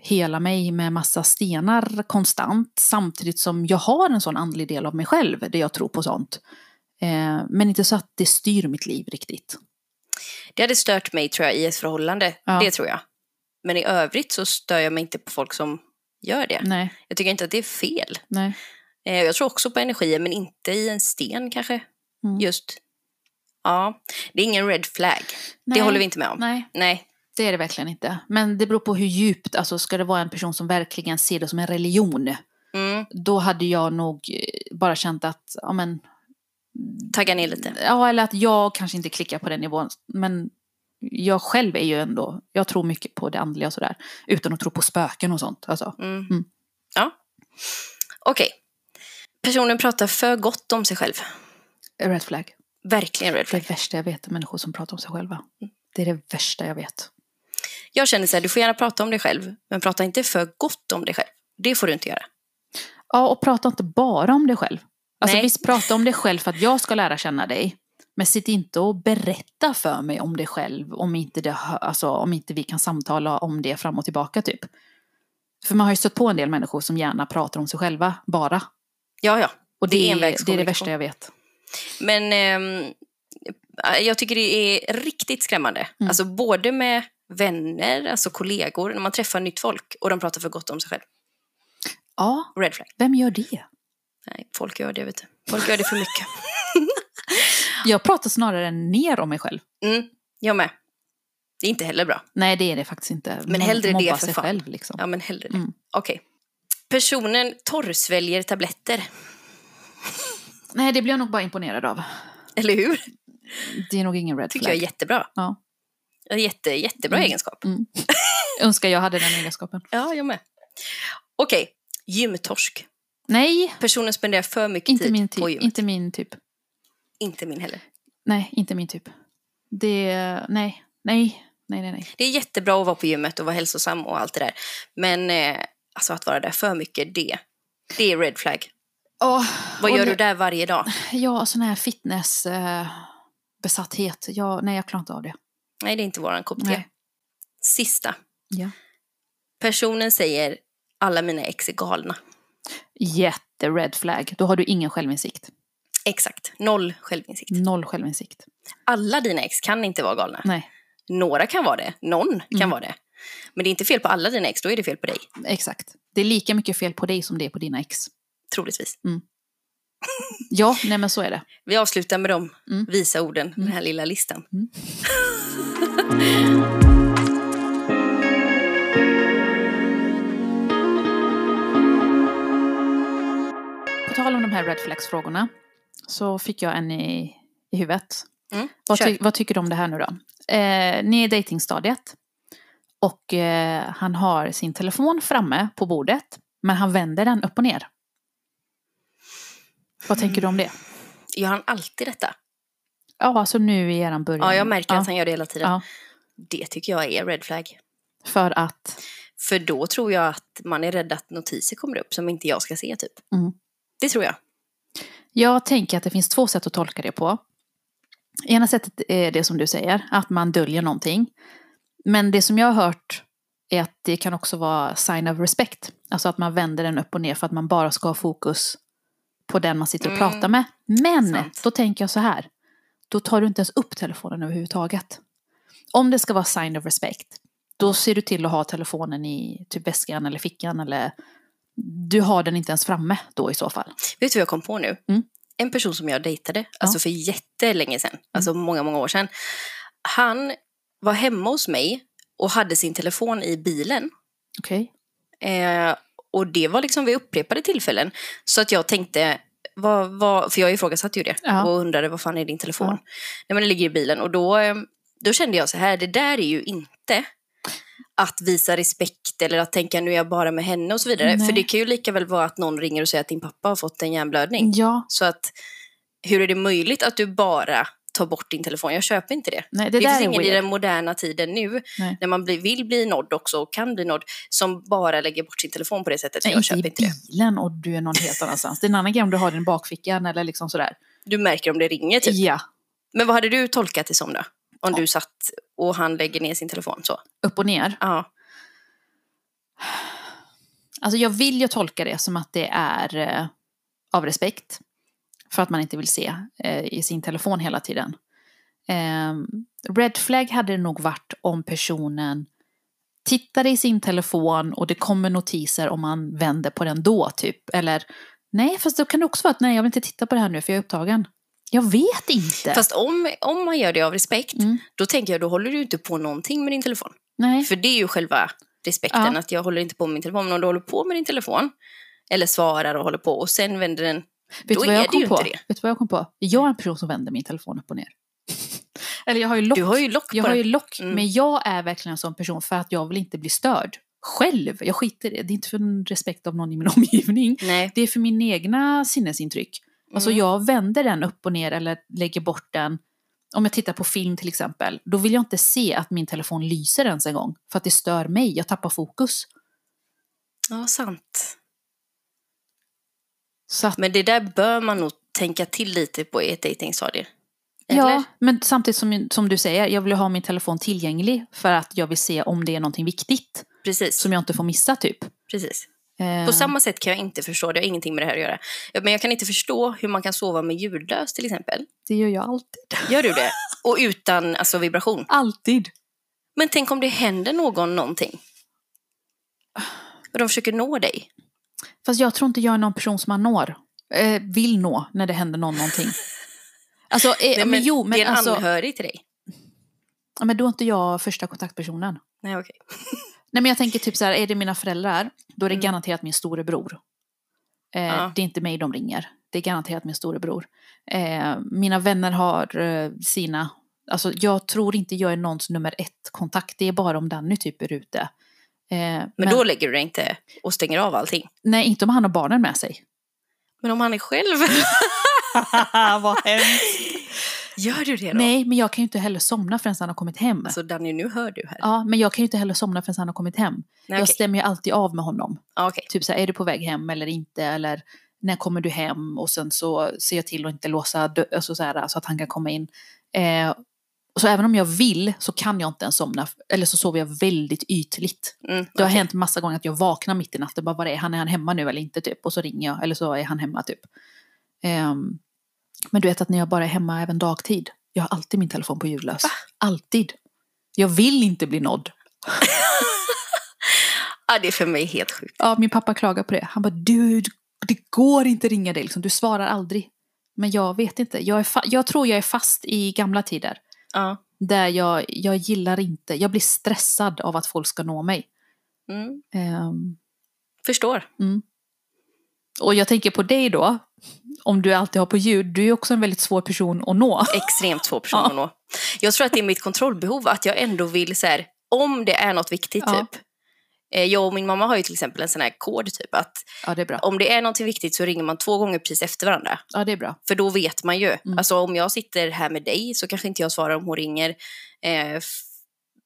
D: hela mig med massa stenar konstant samtidigt som jag har en sån andlig del av mig själv där jag tror på sånt. Eh, men inte så att det styr mitt liv riktigt.
C: Det hade stört mig tror jag i ett förhållande,
D: Ja.
C: det tror jag. Men i övrigt så stör jag mig inte på folk som gör det.
D: Nej,
C: Jag tycker inte att det är fel.
D: nej.
C: Eh, Jag tror också på energier, men inte i en sten kanske.
D: Mm.
C: Just. Ja, det är ingen red flag.
D: nej.
C: Det håller vi inte med om. Nej.
D: Nej, Det är det verkligen inte. Men det beror på hur djupt, alltså ska det vara en person som verkligen ser det som en religion,
C: Mm.
D: då hade jag nog eh, bara känt att, ja men
C: Tagga ner lite.
D: Ja, eller att jag kanske inte klickar på den nivån. Men jag själv är ju ändå, jag tror mycket på det andliga och sådär. Utan att tro på spöken och sånt. Alltså.
C: Mm.
D: Mm.
C: Ja. Okej. Personen pratar för gott om sig själv.
D: Red flag.
C: Verkligen red
D: Det
C: flag.
D: är det värsta jag vet är människor som pratar om sig själva. Det är det värsta jag vet.
C: Jag känner så här, du får gärna prata om dig själv, men prata inte för gott om dig själv. Det får du inte göra.
D: Ja, och prata inte bara om dig själv. Alltså
C: Nej.
D: visst, prata om dig själv för att jag ska lära känna dig. Men sitt inte och berätta för mig om dig själv om inte, det, hö- alltså, om inte vi kan samtala om det fram och tillbaka typ. För man har ju stött på en del människor som gärna pratar om sig själva, bara.
C: Ja, ja.
D: Och det,
C: Det är
D: är, det är det
C: envägskommunikation.
D: värsta jag vet.
C: Men ehm, jag tycker det är riktigt skrämmande.
D: Mm.
C: Alltså både med vänner, alltså kollegor, när man träffar nytt folk och de pratar för gott om sig själv.
D: Ja,
C: Red flag.
D: vem gör det?
C: Nej, folk gör det, vet du. Folk gör det för mycket.
D: Jag pratar snarare ner om mig själv.
C: Mm, jag med. Det är inte heller bra.
D: Nej, det är det faktiskt inte.
C: Men hellre det
D: mobbar
C: för
D: sig
C: fan.
D: själv liksom.
C: Ja, men hellre det.
D: Mm.
C: Okej. Personen torrsväljer tabletter,
D: Nej, det blir jag nog bara imponerad av.
C: eller hur?
D: Det är nog ingen red
C: tycker
D: flag.
C: jag är jättebra.
D: Ja.
C: En Jätte, jättebra
D: Mm.
C: egenskap.
D: Önskar jag hade den egenskapen.
C: Ja, jag med. Okej. Gymtorsk.
D: Nej,
C: Personen spenderar för mycket
D: inte
C: tid,
D: min
C: på
D: typ.
C: gym.
D: Inte min typ.
C: Inte min heller.
D: Nej, inte min typ. Det, nej, nej, nej, nej, nej.
C: Det är jättebra att vara på gymmet och vara hälsosam och allt det där. Men eh, alltså att vara där för mycket, det, det är red flag. Vad
D: och det-
C: gör du där varje dag?
D: Ja, sån här fitnessbesatthet. ja, nej, jag klarar inte av det.
C: Nej, det är inte våran kopp te.
D: Nej.
C: Sista.
D: Ja.
C: Personen säger alla mina ex är galna.
D: Jätte red flag. Då har du ingen självinsikt.
C: Exakt, noll självinsikt.
D: Noll självinsikt.
C: Alla dina ex kan inte vara galna.
D: Nej,
C: Några kan vara det, någon kan
D: Mm.
C: vara det. Men det är inte fel på alla dina ex, då är det fel på dig.
D: exakt. Det är lika mycket fel på dig som det är på dina ex.
C: Troligtvis.
D: Ja, nej men så är det.
C: Vi avslutar med de
D: Mm.
C: visa orden, den här lilla listan.
D: Mm. På tal om de här red flags-frågorna så fick jag en i, i huvudet.
C: Mm,
D: Vad,
C: kör.
D: ty, vad tycker du om det här nu då? Eh, ni är i dejtingstadiet och eh, han har sin telefon framme på bordet men han vänder den upp och ner. Vad tänker du om det?
C: Gör han alltid detta?
D: Ja, alltså nu i eran början.
C: Ja, jag märker att han gör det hela tiden.
D: Ja.
C: Det tycker jag är red flag.
D: För att...
C: För då tror jag att man är rädd att notiser kommer upp som inte jag ska se typ.
D: Mm.
C: Det tror jag.
D: Jag tänker att det finns två sätt att tolka det på. Ena sättet är det som du säger, att man döljer någonting. Men det som jag har hört är att det kan också vara sign of respect. Alltså att man vänder den upp och ner för att man bara ska ha fokus på den man sitter och
C: Mm.
D: pratar med. Men
C: Sant.
D: då tänker jag så här, då tar du inte ens upp telefonen överhuvudtaget. Om det ska vara sign of respect, då ser du till att ha telefonen i typ väskan eller fickan eller du har den inte ens framme då i så fall.
C: Vet du vad jag kom på nu?
D: Mm.
C: En person som jag dejtade, alltså för jättelänge sedan, alltså många, många år sedan. Han var hemma hos mig och hade sin telefon i bilen.
D: Okej.
C: Eh, och det var liksom vid upprepade tillfällen. Så att jag tänkte, vad, vad, för jag ifrågasatte ju det
D: Ja.
C: och undrade vad fan är din telefon?
D: Ja.
C: Nej men det ligger i bilen och då, eh, då kände jag så här, det där är ju inte att visa respekt eller att tänka nu är jag bara med henne och så vidare.
D: Nej.
C: För det kan ju lika väl vara att någon ringer och säger att din pappa har fått en hjärnblödning.
D: Ja,
C: Så att hur är det möjligt att du bara tar bort din telefon? Jag köper inte det.
D: nej, det,
C: Det,
D: där
C: finns
D: är
C: ingen
D: weird.
C: i den moderna tiden nu,
D: Nej.
C: när man blir, vill bli nådd också och kan bli nådd, som bara lägger bort sin telefon på det sättet. För
D: Nej,
C: jag köper
D: inte
C: inte
D: i
C: det.
D: bilen och du är någon helt annanstans. Det är en annan grej om du har den i bakfickan eller liksom sådär.
C: Du märker om det ringer typ.
D: Ja,
C: Men vad hade du tolkat det som då? Om
D: Ja.
C: du satt och han lägger ner sin telefon så?
D: upp och ner.
C: Ja.
D: Alltså jag vill ju tolka det som att det är eh, av respekt. För att man inte vill se eh, i sin telefon hela tiden. Eh, red flag hade det nog varit om personen tittade i sin telefon och det kommer notiser om man vänder på den då typ. Eller nej, fast då kan det också vara att nej, jag vill inte titta på det här nu för jag är upptagen. Jag vet inte.
C: Fast om, om man gör det av respekt,
D: Mm.
C: då tänker jag då håller du inte på någonting med din telefon.
D: Nej.
C: För det är ju själva respekten,
D: Ja.
C: att jag håller inte på med min telefon. Men om du håller på med din telefon, eller svarar och håller på och sen vänder den
D: Vet
C: Då
D: du vad jag
C: är det
D: kom
C: ju
D: på?
C: inte det.
D: Vet du vad jag kom på? Jag är en person som vänder min telefon upp och ner. Eller jag har ju lock.
C: Du har ju lock
D: jag
C: på
D: har ju
C: den.
D: lock,
C: Mm.
D: men jag är verkligen en sån person för att jag vill inte bli störd. Själv. Jag skiter i det. Det är inte för någon respekt av någon i min omgivning.
C: Nej.
D: Det är för min egna sinnesintryck. Alltså
C: Mm.
D: jag vänder den upp och ner eller lägger bort den. Om jag tittar på film till exempel, då vill jag inte se att min telefon lyser ens en gång. För att det stör mig, jag tappar fokus.
C: Ja, sant.
D: Så att
C: Men det där bör man nog tänka till lite på i ett dejtingstadie.
D: Ja, men samtidigt som, som du säger, jag vill ju ha min telefon tillgänglig för att jag vill se om det är någonting viktigt
C: Precis.
D: som jag inte får missa typ.
C: precis.
D: Eh,
C: På samma sätt kan jag inte förstå, det har ingenting med det här att göra. Ja, Men jag kan inte förstå hur man kan sova med ljudlöst till exempel.
D: Det gör jag alltid.
C: Gör du det? Och utan alltså, vibration.
D: Alltid.
C: Men tänk om det händer någon någonting. Och de försöker nå dig.
D: Fast jag tror inte jag är någon person som man når, eh, vill nå när det händer någon någonting. Alltså, eh,
C: Nej,
D: men, jo,
C: det
D: men
C: är en
D: alltså,
C: anhörig till dig.
D: ja, men då är inte jag första kontaktpersonen.
C: Nej, okej.
D: Nej men jag tänker typ så här, är det mina föräldrar, då är det
C: Mm.
D: garanterat min storebror. Eh,
C: Ja.
D: Det är inte mig de ringer, det är garanterat min storebror. Eh, mina vänner har eh, sina, alltså jag tror inte jag är någons nummer ett kontakt, det är bara om Danny typ är ute. Eh, men
C: Men, då lägger du dig inte och stänger av allting.
D: Nej, inte om han har barnen med sig.
C: Men om han är själv,
D: Vad hemskt.
C: gör du det då?
D: Nej, men jag kan ju inte heller somna förrän han har kommit hem.
C: Alltså Danny, nu hör du här.
D: Ja, men jag kan ju inte heller somna förrän han har kommit hem.
C: Nej,
D: Jag
C: okej.
D: stämmer ju alltid av med honom.
C: Ja, okej.
D: Typ så här, är du på väg hem eller inte? Eller när kommer du hem? Och sen så ser jag till att inte låsa dö- alltså så, här, så att han kan komma in. Eh, så även om jag vill så kan jag inte ens somna. Eller så sover jag väldigt ytligt.
C: Mm,
D: Det har
C: okej.
D: hänt massa gånger att jag vaknar mitt i natten. Bara, vad är han? Är han hemma nu eller inte? Typ. Och så ringer jag. Eller så är han hemma typ. Ehm, men du vet att när jag bara är hemma även dagtid. Jag har alltid min telefon på ljudlös. Alltid. Jag vill inte bli nådd.
C: Ja, det är för mig helt sjukt.
D: Ja, min pappa klagar på det. Han bara, du, det går inte att ringa dig, liksom. du svarar aldrig. Men jag vet inte, jag, är fa- jag tror jag är fast i gamla tider.
C: Ja.
D: Där jag, jag gillar inte, jag blir stressad av att folk ska nå mig.
C: Mm.
D: Ehm,
C: Förstår.
D: och jag tänker på dig då, om du alltid har på ljud, du är också en väldigt svår person att nå.
C: Extremt svår person att nå. Jag tror att det är mitt kontrollbehov, att jag ändå vill så här, om det är något viktigt
D: Ja.
C: typ, Eh, Jag och min mamma har ju till exempel en sån här kod typ att
D: Ja, det är bra.
C: om det är någonting viktigt så ringer man två gånger precis efter varandra.
D: Ja, det är bra.
C: För då vet man ju. Alltså om jag sitter här med dig så kanske inte jag svarar om hon ringer. Eh, f-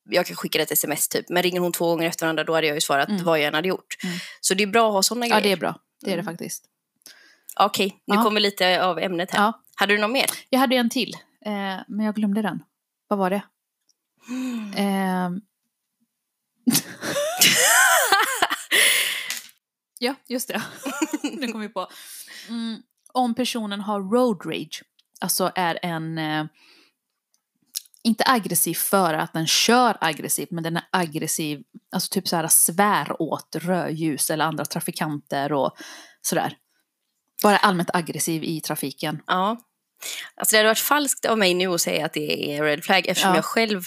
C: jag kan skicka ett sms typ. Men ringer hon två gånger efter varandra då hade jag ju svarat
D: Mm.
C: vad jag än hade gjort.
D: Mm.
C: Så det är bra att ha sådana
D: Ja, det
C: grejer.
D: är bra. Det är det
C: Mm.
D: faktiskt.
C: Okej, nu
D: Ja.
C: kommer lite av ämnet här.
D: Ja.
C: Hade du något mer?
D: Jag hade en till, eh, men jag glömde den. Vad var det? Ehm. ja, just det. nu kom vi på. Mm, om personen har road rage, alltså är en... Eh, inte aggressiv för att den kör aggressivt, men den är aggressiv, alltså typ så här svär åt rödljus eller andra trafikanter och sådär. Bara allmänt aggressiv i trafiken.
C: Ja. Alltså det hade varit falskt av mig nu att säga att det är red flag eftersom
D: Ja.
C: jag själv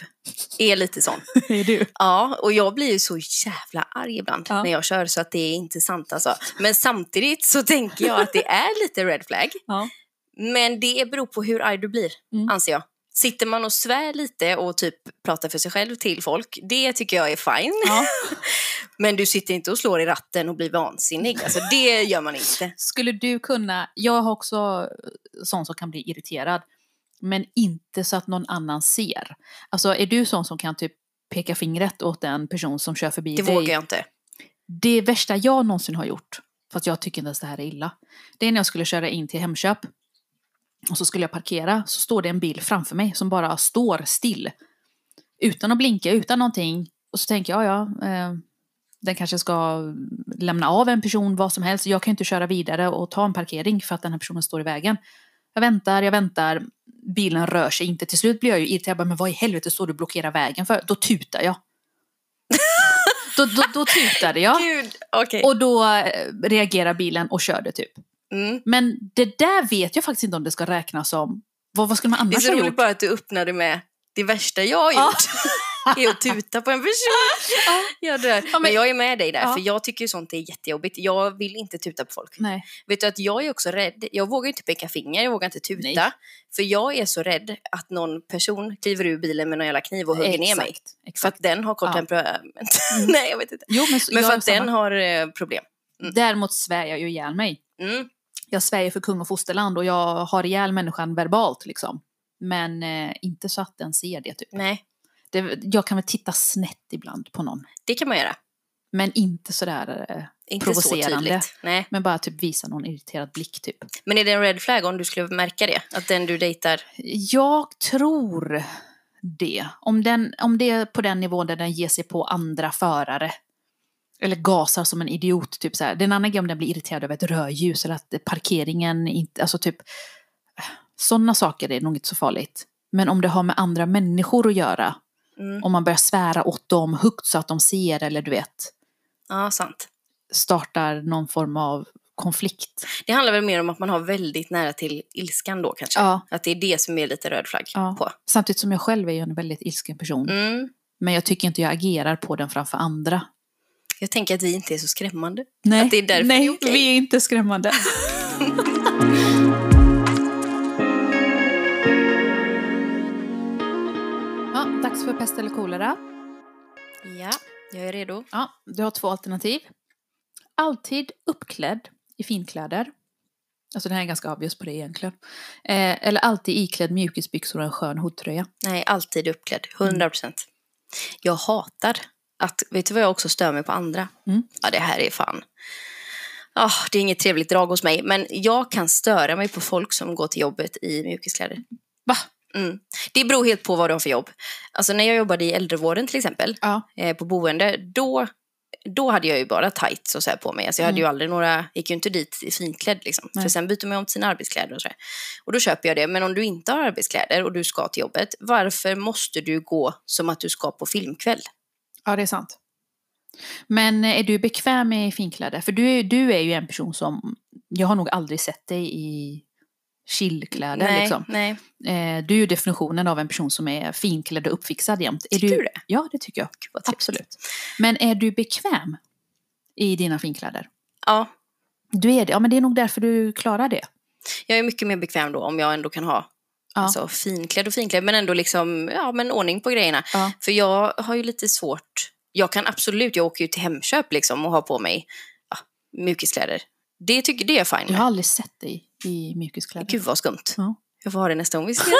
C: är lite sån.
D: är du?
C: Ja, och jag blir ju så jävla arg ibland
D: Ja.
C: när jag kör så att det är inte sant alltså. Men samtidigt så tänker jag att det är lite red flag.
D: Ja.
C: Men det beror på hur arg du blir,
D: Mm.
C: anser jag. Sitter man och svär lite och typ pratar för sig själv till folk, det tycker jag är fine.
D: ja.
C: Men du sitter inte och slår i ratten och blir vansinnig. Alltså det gör man inte.
D: Skulle du kunna, jag har också eh, sån som kan bli irriterad, men inte så att någon annan ser. Alltså är du sån som kan typ peka fingret åt en person som kör förbi
C: Det
D: dig?
C: vågar jag inte.
D: Det värsta jag någonsin har gjort, fast jag tycker inte ens det här är illa, det är när jag skulle köra in till Hemköp och så skulle jag parkera, så står det en bil framför mig som bara står still. Utan att blinka, utan någonting. Och så tänker jag, ja, ja, eh, den kanske ska lämna av en person, vad som helst. Jag kan ju inte köra vidare och ta en parkering för att den här personen står i vägen. Jag väntar, jag väntar. Bilen rör sig inte. Till slut blir jag ju irriterad. Jag bara, Men vad i helvete står du och blockerar vägen för? Då tutar jag. då, då, då tutade jag.
C: Gud, okej.
D: Och då eh, reagerar bilen och körde typ.
C: Mm.
D: Men det där vet jag faktiskt inte om det ska räknas som. Vad, vad skulle man
C: Det är
D: annars
C: så
D: ha
C: roligt
D: gjort?
C: bara att du öppnade med det värsta jag har
D: Ja.
C: gjort. är att tuta på en person.
D: Ja.
C: Jag dör.
D: men-
C: men, jag är med dig där,
D: Ja.
C: för jag tycker ju sånt är jättejobbigt. Jag vill inte tuta på folk.
D: Nej.
C: Vet du att jag är också rädd. Jag vågar ju inte peka finger, jag vågar inte tuta.
D: Nej.
C: För jag är så rädd att någon person kliver ur bilen med någon jävla kniv och hugger ner mig.
D: Exakt,
C: För
D: Exakt.
C: att den har kort
D: Ja.
C: temperament. Nej, jag vet inte.
D: Jo, men så-
C: Men
D: jag
C: för
D: är
C: att
D: samma.
C: den har eh, problem. Mm.
D: Däremot svär jag ju ihjäl mig.
C: Mm.
D: Jag svär ju för kung och fosterland och jag har ihjäl människan verbalt liksom. Men eh, inte så att den ser det typ.
C: Nej,
D: Det, jag kan väl titta snett ibland på någon.
C: det kan man göra.
D: Men inte sådär, eh,
C: Inte så
D: Provocerande.
C: tydligt. Nej.
D: men bara typ visa någon irriterad blick typ.
C: Men är det en red flag om du skulle märka det? Att den du dejtar
D: Jag tror det. Om, den, om det är på den nivån där den ger sig på andra förare. Eller gasar som en idiot. Typ så här. Det är en annan grej om den blir irriterad över ett rödljus eller att parkeringen inte... Alltså typ... Sådana saker är nog inte så farligt. Men om det har med andra människor att göra.
C: Mm.
D: Om man börjar svära åt dem högt så att de ser eller du vet.
C: Ja, sant.
D: Startar någon form av konflikt.
C: Det handlar väl mer om att man har väldigt nära till ilskan då kanske.
D: Ja.
C: Att det är det som är lite röd flagg
D: Ja.
C: på.
D: Samtidigt som jag själv är ju en väldigt ilsken person.
C: Mm.
D: Men jag tycker inte jag agerar på den framför andra.
C: Jag tänker att vi inte är så skrämmande.
D: Nej,
C: Att det är därför
D: nej
C: det är okej.
D: vi är inte skrämmande. ja, dags för pest eller kolera.
C: Ja, jag är redo.
D: Ja, du har två alternativ. Alltid uppklädd i finkläder. Alltså den här är ganska obvious på det egentligen. Eh, eller alltid iklädd mjukisbyxor och en skön hoodtröja.
C: Nej, alltid uppklädd. 100 procent. Jag hatar att, vet du vad jag också stör mig på andra?
D: Mm.
C: Ja, det här är fan. Ah, det är inget trevligt drag hos mig, men jag kan störa mig på folk som går till jobbet i mjukiskläder.
D: Va?
C: Mm. Det beror helt på vad de har för jobb. Alltså när jag jobbade i äldrevården till exempel,
D: Ja.
C: eh, på boende, då, då hade jag ju bara tights och så här på mig. Alltså jag hade ju aldrig några, gick ju inte dit i finklädd liksom.
D: Mm. Nej.
C: För sen byter man ju om till sina arbetskläder och så där. Och då köper jag det. Men om du inte har arbetskläder och du ska till jobbet, varför måste du gå som att du ska på filmkväll?
D: Ja, det är sant. Men eh, är du bekväm i finkläder? För du är, du är ju en person som... Jag har nog aldrig sett dig i chillkläder.
C: nej,
D: Liksom.
C: nej.
D: Eh, du är ju definitionen av en person som är finklädd och uppfixad jämt. Är
C: Tycker du det?
D: Ja, det tycker jag.
C: Gud, vad trevligt.
D: Absolut. Men är du bekväm i dina finkläder?
C: Ja,
D: Du är det. Ja, men det är nog därför du klarar det.
C: jag är mycket mer bekväm då om jag ändå kan ha
D: Ja.
C: alltså, finklädd och finklädd, men ändå liksom, ja, men ordning på grejerna.
D: Ja.
C: För jag har ju lite svårt Jag kan absolut, jag åker ju till Hemköp liksom och har på mig ja, mjukiskläder. Det tycker det är fine
D: Jag
C: med.
D: har aldrig sett dig i mjukiskläder.
C: Gud vad skumt.
D: Ja.
C: Jag får ha det nästa gång vi ses.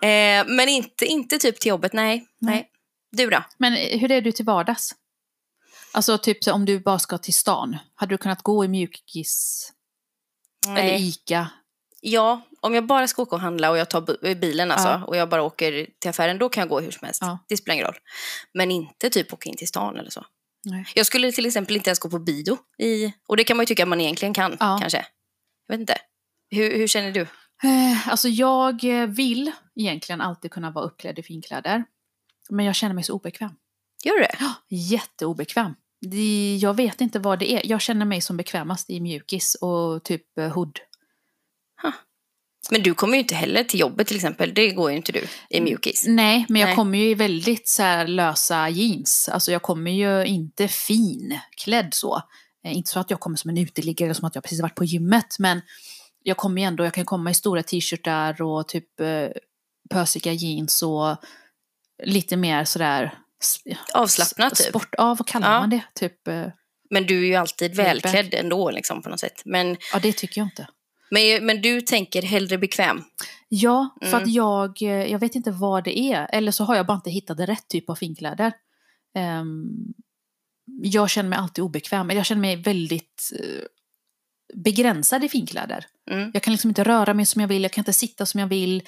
C: eh, men inte, inte typ till jobbet, nej. nej.
D: Nej.
C: Du då?
D: Men eh, hur är du till vardags? Alltså typ så om du bara ska till stan, hade du kunnat gå i mjukis eller Ica?
C: Ja, om jag bara ska åka och handla och jag tar bu- bilen alltså,
D: Ja.
C: och jag bara åker till affären, då kan jag gå hur som helst.
D: Ja.
C: Det spelar ingen roll. Men inte typ åka in till stan eller så.
D: Nej.
C: Jag skulle till exempel inte ens gå på bio. I, och det kan man ju tycka att man egentligen kan,
D: Ja.
C: kanske. Jag vet inte. Hur, hur känner du?
D: Eh, Alltså jag eh, vill egentligen alltid kunna vara uppklädd i finkläder. Men jag känner mig så obekväm.
C: Gör du det?
D: Jätteobekväm. Det- Jag vet inte vad det är. Jag känner mig som bekvämast i mjukis och typ eh, hood.
C: Men du kommer ju inte heller till jobbet till exempel. Det går ju inte du
D: Mm.
C: i mjukis.
D: Nej, men jag
C: Nej.
D: kommer ju i väldigt så här lösa jeans. Alltså jag kommer ju inte finklädd så. Eh, Inte så att jag kommer som en uteliggare, som att jag precis varit på gymmet. Men jag kommer ju ändå, jag kan komma i stora t-shirtar och typ eh, pösiga jeans och lite mer sådär... s-
C: Avslappnat
D: s-
C: typ.
D: Sport, ja, vad kallar
C: Ja.
D: man det? Typ, eh,
C: Men du är ju alltid
D: Laid back.
C: välklädd ändå liksom, på något sätt. Men,
D: ja, det tycker jag inte.
C: men, men du tänker hellre bekväm.
D: Ja, för
C: Mm.
D: att jag, eh, jag vet inte vad det är. Eller så har jag bara inte hittat rätt typ av finkläder. Ehm, jag känner mig alltid obekväm. Jag känner mig väldigt eh, begränsad i finkläder.
C: Mm.
D: Jag kan liksom inte röra mig som jag vill, jag kan inte sitta som jag vill.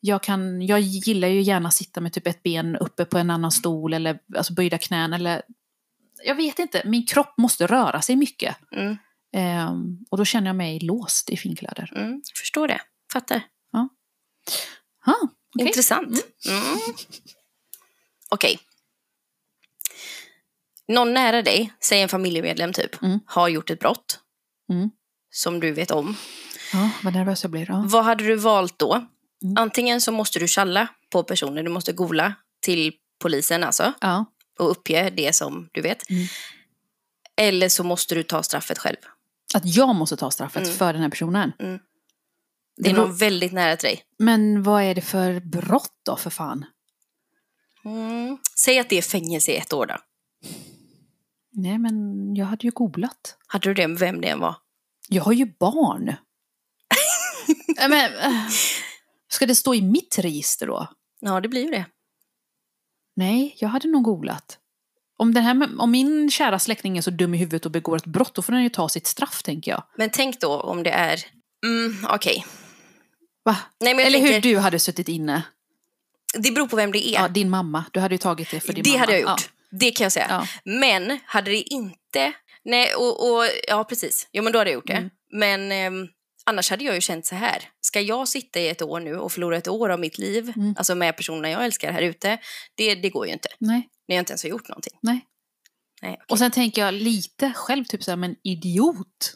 D: Jag, kan, jag gillar ju gärna att sitta med typ ett ben uppe på en annan stol eller alltså böjda knän. Eller, jag vet inte, min kropp måste röra sig mycket.
C: Mm.
D: Ehm, och då känner jag mig låst i finkläder.
C: Mm, förstår det. Fattar.
D: Ha, okej.
C: Intressant. Mm. Okej. Någon nära dig, säg en familjemedlem typ,
D: Mm.
C: har gjort ett brott.
D: Mm.
C: Som du vet om.
D: Ja, vad nervös jag blir. Ja.
C: Vad hade du valt då?
D: Mm.
C: Antingen så måste du tjalla på personen, du måste gola till polisen alltså
D: Ja.
C: och uppge det som du vet.
D: Mm.
C: Eller så måste du ta straffet själv.
D: Att jag måste ta straffet
C: Mm.
D: för den här personen.
C: Mm.
D: Det
C: Det är
D: beror-
C: någon väldigt nära till dig.
D: Men vad är det för brott då för fan?
C: Mm. Säg att det är fängelse i ett år då.
D: Nej men jag hade ju googlat.
C: Hade du det med vem det än var?
D: Jag har ju barn. Nej, men, eh, ska det stå i mitt register då?
C: Ja, det blir ju det.
D: Nej, jag hade nog googlat. Om, den här, om min kära släkting är så dum i huvudet och begår ett brott, då får den ju ta sitt straff, tänker jag.
C: Men tänk då om det är... Mm, Okej.
D: Va?
C: Nej, men jag
D: Eller hur
C: tänker,
D: du hade suttit inne.
C: Det beror på vem det är.
D: Ja, din mamma. Du hade ju tagit det för din
C: det
D: mamma.
C: hade jag gjort. Det kan jag säga.
D: Ja,
C: Men hade det inte... Nej, och, och ja precis. Jo, men då hade jag gjort det.
D: Mm.
C: Men ehm, annars hade jag ju känt så här. Ska jag sitta i ett år nu och förlora ett år av mitt liv,
D: Mm.
C: alltså med personerna jag älskar här ute, det, det går ju inte.
D: ja. Nej.
C: När jag inte ens har gjort någonting.
D: Nej.
C: Nej, okej.
D: Och sen tänker jag lite själv, typ såhär, men idiot.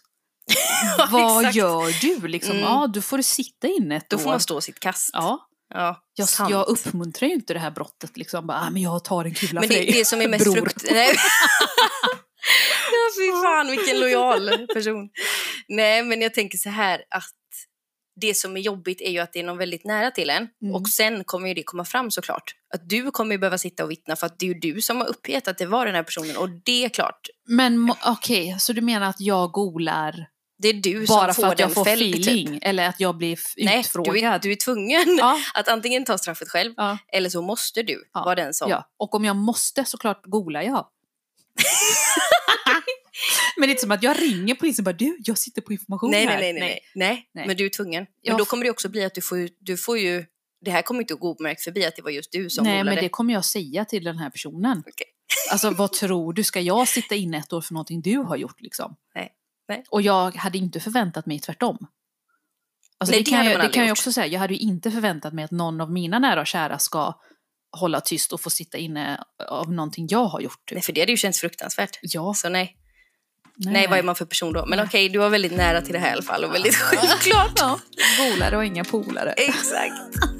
C: Ja,
D: Vad
C: exakt.
D: gör du liksom?
C: Mm.
D: Ja, du får sitta inne ett
C: Då
D: år.
C: får man stå sitt kast.
D: Ja,
C: Ja,
D: jag,
C: sant.
D: jag uppmuntrar ju inte det här brottet liksom. Bara, ah, men jag tar en kula
C: Men
D: för
C: det,
D: dig.
C: det som är mest
D: Bror.
C: frukt... Nej. ja, fy fan vilken lojal person. Nej, men jag tänker så här att det som är jobbigt är ju att det är någon väldigt nära till en.
D: Mm.
C: Och sen kommer ju det komma fram såklart. Att du kommer ju behöva sitta och vittna för att det är ju du som har uppgett att det var den här personen. Och det är klart,
D: Men mo- okej, så du menar att jag golar
C: det är du
D: bara
C: som
D: för
C: får
D: att jag
C: den
D: får
C: fälld.
D: feeling?
C: Typ.
D: Eller att jag blir f-
C: Nej,
D: utfrågad?
C: du är, du är tvungen
D: Ja,
C: att antingen ta straffet själv
D: Ja.
C: eller så måste du
D: Ja,
C: vara den som...
D: ja, och om jag måste såklart golar jag. men det är inte som att jag ringer polisen och bara du, jag sitter på information
C: Nej,
D: här.
C: nej, nej, nej, nej. nej.
D: Nej.
C: men du är tvungen. Men
D: Jag
C: då
D: f-
C: kommer det också bli att du får, ju- du får ju... Det här kommer inte att gå obemärkt förbi att det var just du som
D: Nej, men
C: målade.
D: det kommer jag säga till den här personen.
C: Okej.
D: Alltså vad tror du, ska jag sitta inne ett år för någonting du har gjort liksom?
C: Nej, nej.
D: Och jag hade inte förväntat mig tvärtom. Alltså,
C: Nej,
D: det,
C: det
D: kan
C: hade
D: jag,
C: man
D: det kan jag
C: aldrig
D: ju
C: gjort.
D: också säga, jag hade ju inte förväntat mig att någon av mina nära och kära ska hålla tyst och få sitta inne av någonting jag har gjort. Typ.
C: Nej, för det hade ju känts fruktansvärt.
D: Ja,
C: Så nej. nej. vad är man för person då? Men
D: Nej.
C: okej, du var väldigt nära till det här i alla fall och väldigt självklart.
D: Polare och inga polare.
C: Exakt.